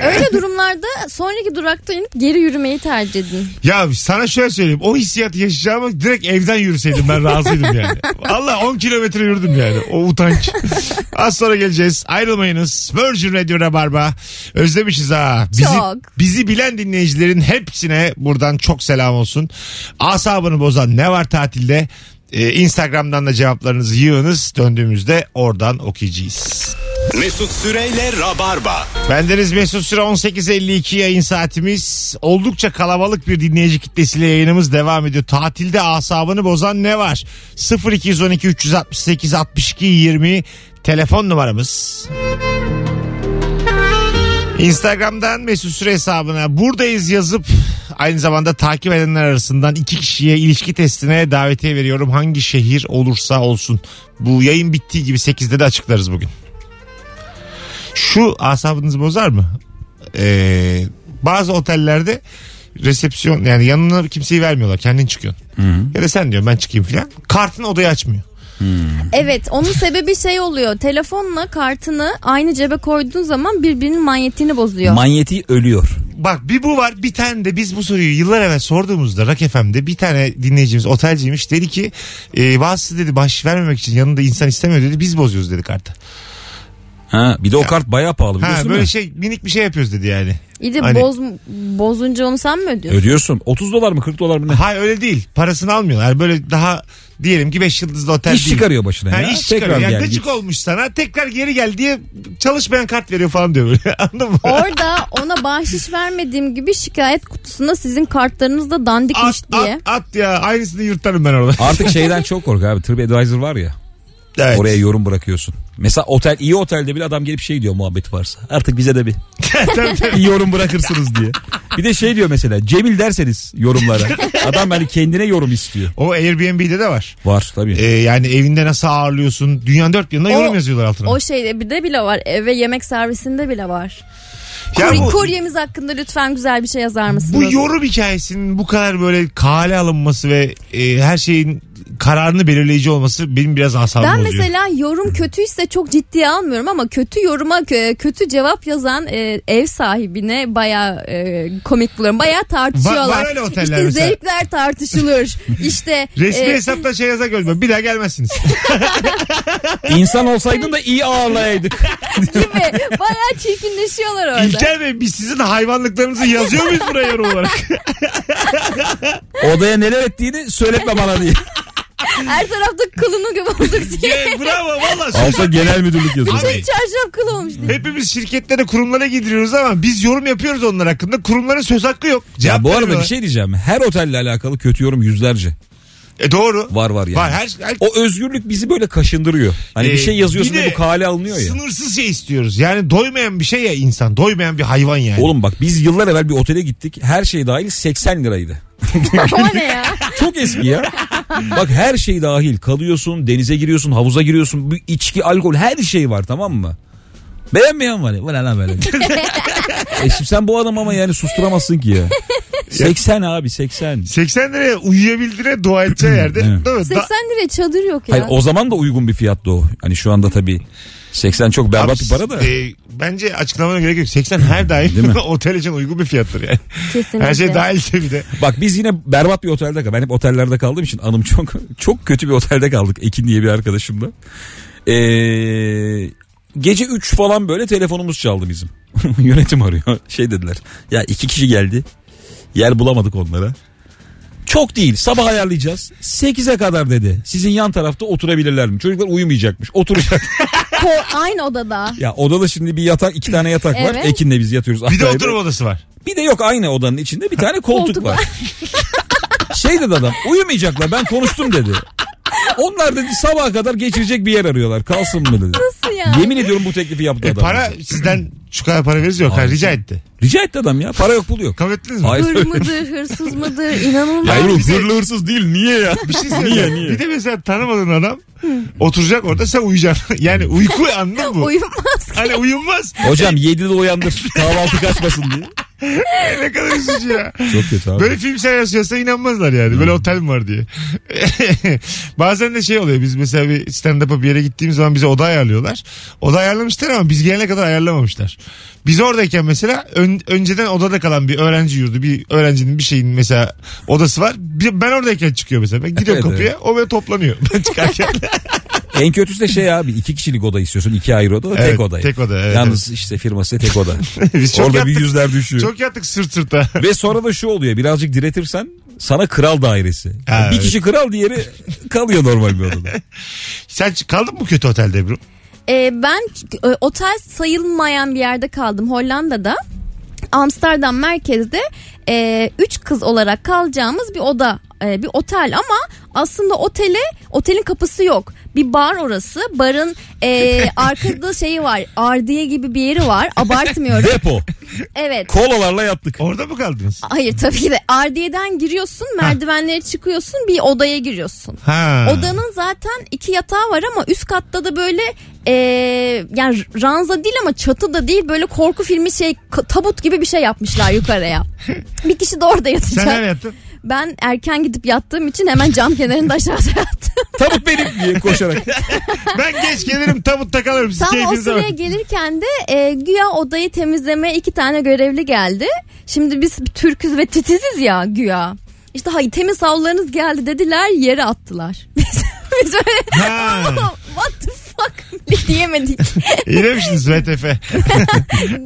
Speaker 3: Öyle [laughs] durumlarda sonraki durakta inip geri yürümeyi tercih edin.
Speaker 2: Ya sana şöyle söyleyeyim. O hissiyatı yaşayacağıma direkt evden yürüseydim ben razıydım yani. Allah 10 kilometre yürüdüm yani. O utanç. Az sonra geleceğiz. Ayrılmayınız. Virgin Radio Rabarba. Özlemişiz ha. Bizi,
Speaker 3: Çok.
Speaker 2: bizi bilen dinleyicilerin hepsine buradan çok selam olsun. Asabını bozan ne var tatilde? Ee, Instagram'dan da cevaplarınızı yığınız. Döndüğümüzde oradan okuyacağız.
Speaker 1: Mesut Süreyle Rabarba.
Speaker 2: Bendeniz Mesut Süre 18.52 yayın saatimiz. Oldukça kalabalık bir dinleyici kitlesiyle yayınımız devam ediyor. Tatilde asabını bozan ne var? 0212 368 62 20 telefon numaramız. Instagram'dan Mesut Süre hesabına buradayız yazıp aynı zamanda takip edenler arasından iki kişiye ilişki testine davetiye veriyorum. Hangi şehir olursa olsun. Bu yayın bittiği gibi 8'de de açıklarız bugün. Şu asabınızı bozar mı? Ee, bazı otellerde resepsiyon yani yanına kimseyi vermiyorlar. Kendin çıkıyorsun. Ya da sen diyor ben çıkayım filan. Kartın odayı açmıyor.
Speaker 3: Evet onun sebebi şey oluyor. Telefonla kartını aynı cebe koyduğun zaman birbirinin manyetini bozuyor.
Speaker 4: Manyeti ölüyor.
Speaker 2: Bak bir bu var bir tane de biz bu soruyu yıllar evvel sorduğumuzda Rock FM'de bir tane dinleyicimiz otelciymiş dedi ki e, bazısı dedi baş vermemek için yanında insan istemiyor dedi biz bozuyoruz dedi kartı.
Speaker 4: Ha, bir de o kart baya pahalı
Speaker 2: Ha,
Speaker 4: biliyorsun
Speaker 2: böyle
Speaker 4: değil mi?
Speaker 2: şey minik bir şey yapıyoruz dedi yani.
Speaker 3: İyi de
Speaker 2: Hani-
Speaker 3: boz, bozunca onu sen mi ödüyorsun?
Speaker 4: Ödüyorsun. 30 dolar mı 40 dolar mı ne?
Speaker 2: Hayır öyle değil parasını almıyorlar böyle daha Diyelim ki 5 yıldızlı otel
Speaker 4: İş
Speaker 2: değil.
Speaker 4: çıkarıyor başına
Speaker 2: Ha,
Speaker 4: ya.
Speaker 2: iş çıkarıyor.
Speaker 4: Tekrar
Speaker 2: Yani
Speaker 4: gel
Speaker 2: gıcık
Speaker 4: git.
Speaker 2: olmuş sana. Tekrar geri gel diye çalışmayan kart veriyor falan diyor böyle. [laughs] Anladın mı?
Speaker 3: Orada ona bahşiş vermediğim gibi şikayet kutusunda sizin kartlarınız da dandikmiş
Speaker 2: At,
Speaker 3: diye.
Speaker 2: at, at ya. Aynısını yırtarım ben orada. [laughs]
Speaker 4: Artık şeyden çok kork abi. TripAdvisor var ya.
Speaker 2: Evet.
Speaker 4: Oraya yorum bırakıyorsun. Mesela otel iyi otelde bile adam gelip şey diyor muhabbet varsa. Artık bize de bir
Speaker 2: [laughs] Tabii, tabii.
Speaker 4: iyi yorum bırakırsınız diye. Bir de şey diyor mesela Cemil derseniz yorumlara. Adam hani kendine yorum istiyor.
Speaker 2: o Airbnb'de de var.
Speaker 4: Var tabii.
Speaker 2: Ee, yani evinde nasıl ağırlıyorsun? Dünyanın dört yanında yorum yazıyorlar altına.
Speaker 3: O şeyde bir de bile var. Eve yemek servisinde bile var.
Speaker 2: Ya
Speaker 3: Kur-
Speaker 2: bu-
Speaker 3: Kuryemiz hakkında lütfen güzel bir şey yazar mısınız?
Speaker 2: Bu yorum hikayesinin bu kadar böyle kale alınması ve e, her şeyin kararını belirleyici olması benim biraz asabım
Speaker 3: Ben
Speaker 2: bozuyor.
Speaker 3: mesela yorum kötüyse çok ciddiye almıyorum ama kötü yoruma kö- kötü cevap yazan e, ev sahibine baya komik buluyorum. Baya
Speaker 2: Var-
Speaker 3: tartışıyorlar.
Speaker 2: var öyle oteller
Speaker 3: işte
Speaker 2: mesela. [laughs]
Speaker 3: zevkler tartışılır. işte [laughs]
Speaker 2: Resmi
Speaker 3: e,
Speaker 2: hesapta şey yaza görmüyorum. Bir daha
Speaker 3: [laughs]
Speaker 2: gelmezsiniz.
Speaker 4: İnsan E, olsaydın da iyi ağırlayaydık.
Speaker 3: gibi baya çirkinleşiyorlar orada.
Speaker 2: İlker Bey biz sizin hayvanlıklarınızı yazıyor muyuz buraya yorum olarak?
Speaker 4: [laughs] Odaya neler ettiğini söyletme
Speaker 2: [laughs]
Speaker 4: bana diye.
Speaker 3: Her tarafta kılını gibi olduk [laughs] diye. Şey,
Speaker 2: Ya, bravo valla.
Speaker 4: Altta genel müdürlük yazıyor.
Speaker 2: Abi,
Speaker 3: Çarşaf kıl olmuş diye.
Speaker 2: Hepimiz şirketlere kurumlara gidiriyoruz ama biz yorum yapıyoruz onlar hakkında. Kurumların söz hakkı yok. Cevap
Speaker 4: Ya bu arada bir
Speaker 2: vermiyorlar.
Speaker 4: şey diyeceğim. Her otelle alakalı kötü yorum yüzlerce.
Speaker 2: E, doğru.
Speaker 4: Var var şey- yani.
Speaker 2: Var, her- her-
Speaker 4: O özgürlük bizi böyle kaşındırıyor. Hani
Speaker 2: Ee,
Speaker 4: bir şey yazıyorsun
Speaker 2: bir de
Speaker 4: da bu kale alınıyor ya.
Speaker 2: Sınırsız şey istiyoruz. Yani doymayan bir şey ya insan. Doymayan bir hayvan yani.
Speaker 4: Oğlum bak biz yıllar evvel bir otele gittik. Her şey dahil 80 liraydı.
Speaker 3: O
Speaker 2: [laughs]
Speaker 3: ne ya?
Speaker 4: Çok eski ya. Bak her şey dahil. Kalıyorsun, denize giriyorsun, havuza giriyorsun. Bir içki, alkol her şey var tamam mı? Beğenmeyen var ya. Bu ne lan böyle? e şimdi sen bu adam ama yani susturamazsın ki ya. 80 abi 80.
Speaker 2: 80 liraya uyuyabildire dua edeceği yerde.
Speaker 4: Evet.
Speaker 2: Değil mi? Da-
Speaker 3: 80 liraya çadır yok ya.
Speaker 4: Hayır o zaman da uygun bir fiyattı o. Hani şu anda tabii 80 çok
Speaker 2: Abi,
Speaker 4: berbat bir para da.
Speaker 2: e, bence açıklamana gerek yok. 80 her daim
Speaker 4: Değil mi?
Speaker 2: [laughs] otel için uygun bir fiyattır yani.
Speaker 3: Kesinlikle.
Speaker 2: Her şey dahilse bir de.
Speaker 4: Bak biz yine berbat bir otelde kaldık. Ben hep otellerde kaldığım için anım çok [laughs] çok kötü bir otelde kaldık. Ekin diye bir arkadaşımla. Ee, gece 3 falan böyle telefonumuz çaldı bizim. [laughs] Yönetim arıyor. Şey dediler. Ya iki kişi geldi. Yer bulamadık onlara. Çok değil sabah ayarlayacağız. 8'e kadar dedi. Sizin yan tarafta oturabilirler mi? Çocuklar uyumayacakmış. Oturacak. [laughs]
Speaker 3: Ko- aynı odada.
Speaker 4: ya odada şimdi bir yatak iki tane yatak var.
Speaker 3: Evet.
Speaker 4: Ekin'le biz yatıyoruz.
Speaker 2: Bir de
Speaker 4: ayrı.
Speaker 2: oturma odası var.
Speaker 4: Bir de yok aynı odanın içinde
Speaker 3: [laughs]
Speaker 4: bir tane koltuk
Speaker 3: Koltuk
Speaker 4: var. şey dedi adam uyumayacaklar ben konuştum dedi. Onlar dedi sabaha kadar geçirecek bir yer arıyorlar kalsın mı dedi.
Speaker 3: Nasıl yani?
Speaker 4: Yemin ediyorum bu teklifi yaptı
Speaker 2: E,
Speaker 4: adam.
Speaker 2: para sizden şu kadar para veririz yok. Ha,
Speaker 4: Abi.
Speaker 2: rica etti.
Speaker 4: Rica etti adam ya para yok pul yok.
Speaker 2: Kabul ettiniz mi?
Speaker 4: Hayır.
Speaker 3: Hır mıdır, hırsız mıdır? İnanılmaz.
Speaker 2: Hayır, bize-
Speaker 4: hırlı hırsız değil niye ya?
Speaker 2: Bir şey söyleyeyim. Bir de mesela tanımadığın adam oturacak orada sen uyuyacaksın. [laughs] Yani uyku anladın mı?
Speaker 3: Uyumaz.
Speaker 2: hani uyunmaz.
Speaker 4: [laughs] Hocam 7'de uyandır kahvaltı kaçmasın diye.
Speaker 2: ne kadar üzücü ya.
Speaker 4: Çok kötü abi.
Speaker 2: Böyle film senaryosu yazsa inanmazlar yani. Böyle
Speaker 4: Hmm.
Speaker 2: otel mi var diye. [laughs] Bazen de şey oluyor. Biz mesela bir stand-up'a bir yere gittiğimiz zaman bize oda ayarlıyorlar. Oda ayarlamışlar ama biz gelene kadar ayarlamamışlar. Biz oradayken mesela ön- önceden odada kalan bir öğrenci yurdu. Bir öğrencinin bir şeyin mesela odası var. Bir- ben oradayken çıkıyor mesela. Ben gidiyorum
Speaker 4: Evet,
Speaker 2: kapıya.
Speaker 4: evet.
Speaker 2: O böyle
Speaker 4: [laughs]
Speaker 2: toplanıyor. Ben çıkarken.
Speaker 4: En kötüsü de şey abi iki kişilik oda istiyorsun iki ayrı oda da
Speaker 2: Evet,
Speaker 4: tek odayı.
Speaker 2: tek oda, evet,
Speaker 4: Yalnız işte firması tek oda.
Speaker 2: Biz çok
Speaker 4: Orada
Speaker 2: yattık.
Speaker 4: bir yüzler düşüyor.
Speaker 2: Çok yattık sırt sırta. [laughs]
Speaker 4: [laughs] Ve sonra da şu oluyor birazcık diretirsen sana kral dairesi.
Speaker 2: Ha,
Speaker 4: bir
Speaker 2: evet.
Speaker 4: kişi kral diğeri kalıyor normal bir odada.
Speaker 2: Sen ç- kaldın mı kötü otelde Ebru?
Speaker 3: Ee, ben e, otel sayılmayan bir yerde kaldım Hollanda'da. Amsterdam merkezde e, üç kız olarak kalacağımız bir oda e, bir otel ama aslında otele otelin kapısı yok. Bir bar orası. Barın e, arkada şeyi var. Ardiye gibi bir yeri var.
Speaker 4: [laughs]
Speaker 3: Abartmıyorum.
Speaker 4: Depo.
Speaker 3: Evet.
Speaker 4: Kolalarla yattık.
Speaker 2: Orada mı kaldınız?
Speaker 3: Hayır tabii ki de Ardiye'den giriyorsun merdivenlere çıkıyorsun bir odaya giriyorsun.
Speaker 2: Ha.
Speaker 3: Odanın zaten iki yatağı var ama üst katta da böyle e, yani ranza değil ama çatı da değil böyle korku filmi şey ka- tabut gibi bir şey
Speaker 2: [laughs]
Speaker 3: yapmışlar yukarıya. bir kişi de orada
Speaker 2: Sen
Speaker 3: yatacak.
Speaker 2: nereye yattın?
Speaker 3: Ben erken gidip yattığım için hemen cam
Speaker 2: [laughs]
Speaker 3: kenarında aşağıda yattım.
Speaker 4: Tabut benim diye koşarak.
Speaker 2: Ben geç gelirim tabutta kalırım. Siz
Speaker 3: Tam o
Speaker 2: keyfinize
Speaker 3: sıraya
Speaker 2: bakın.
Speaker 3: gelirken de e, güya odayı temizlemeye iki tane görevli geldi. Şimdi biz Türküz ve titiziz ya güya. İşte hayır temiz [laughs] havlularınız geldi dediler yere attılar. biz, biz böyle
Speaker 2: Ha.
Speaker 3: [laughs] what the fuck [laughs] Diyemedik, diyemedik.
Speaker 2: İyi demişsiniz VTF.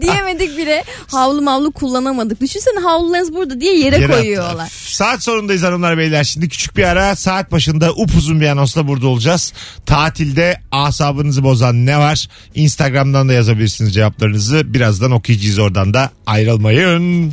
Speaker 3: diyemedik bile. Havlu mavlu kullanamadık. Düşünsene havlularınız burada diye yere,
Speaker 2: Yere
Speaker 3: koyuyorlar.
Speaker 2: Saat sonundayız hanımlar beyler. Şimdi küçük bir ara saat başında upuzun bir anonsla burada olacağız. Tatilde asabınızı bozan ne var? Instagram'dan da yazabilirsiniz cevaplarınızı. Birazdan okuyacağız oradan da ayrılmayın.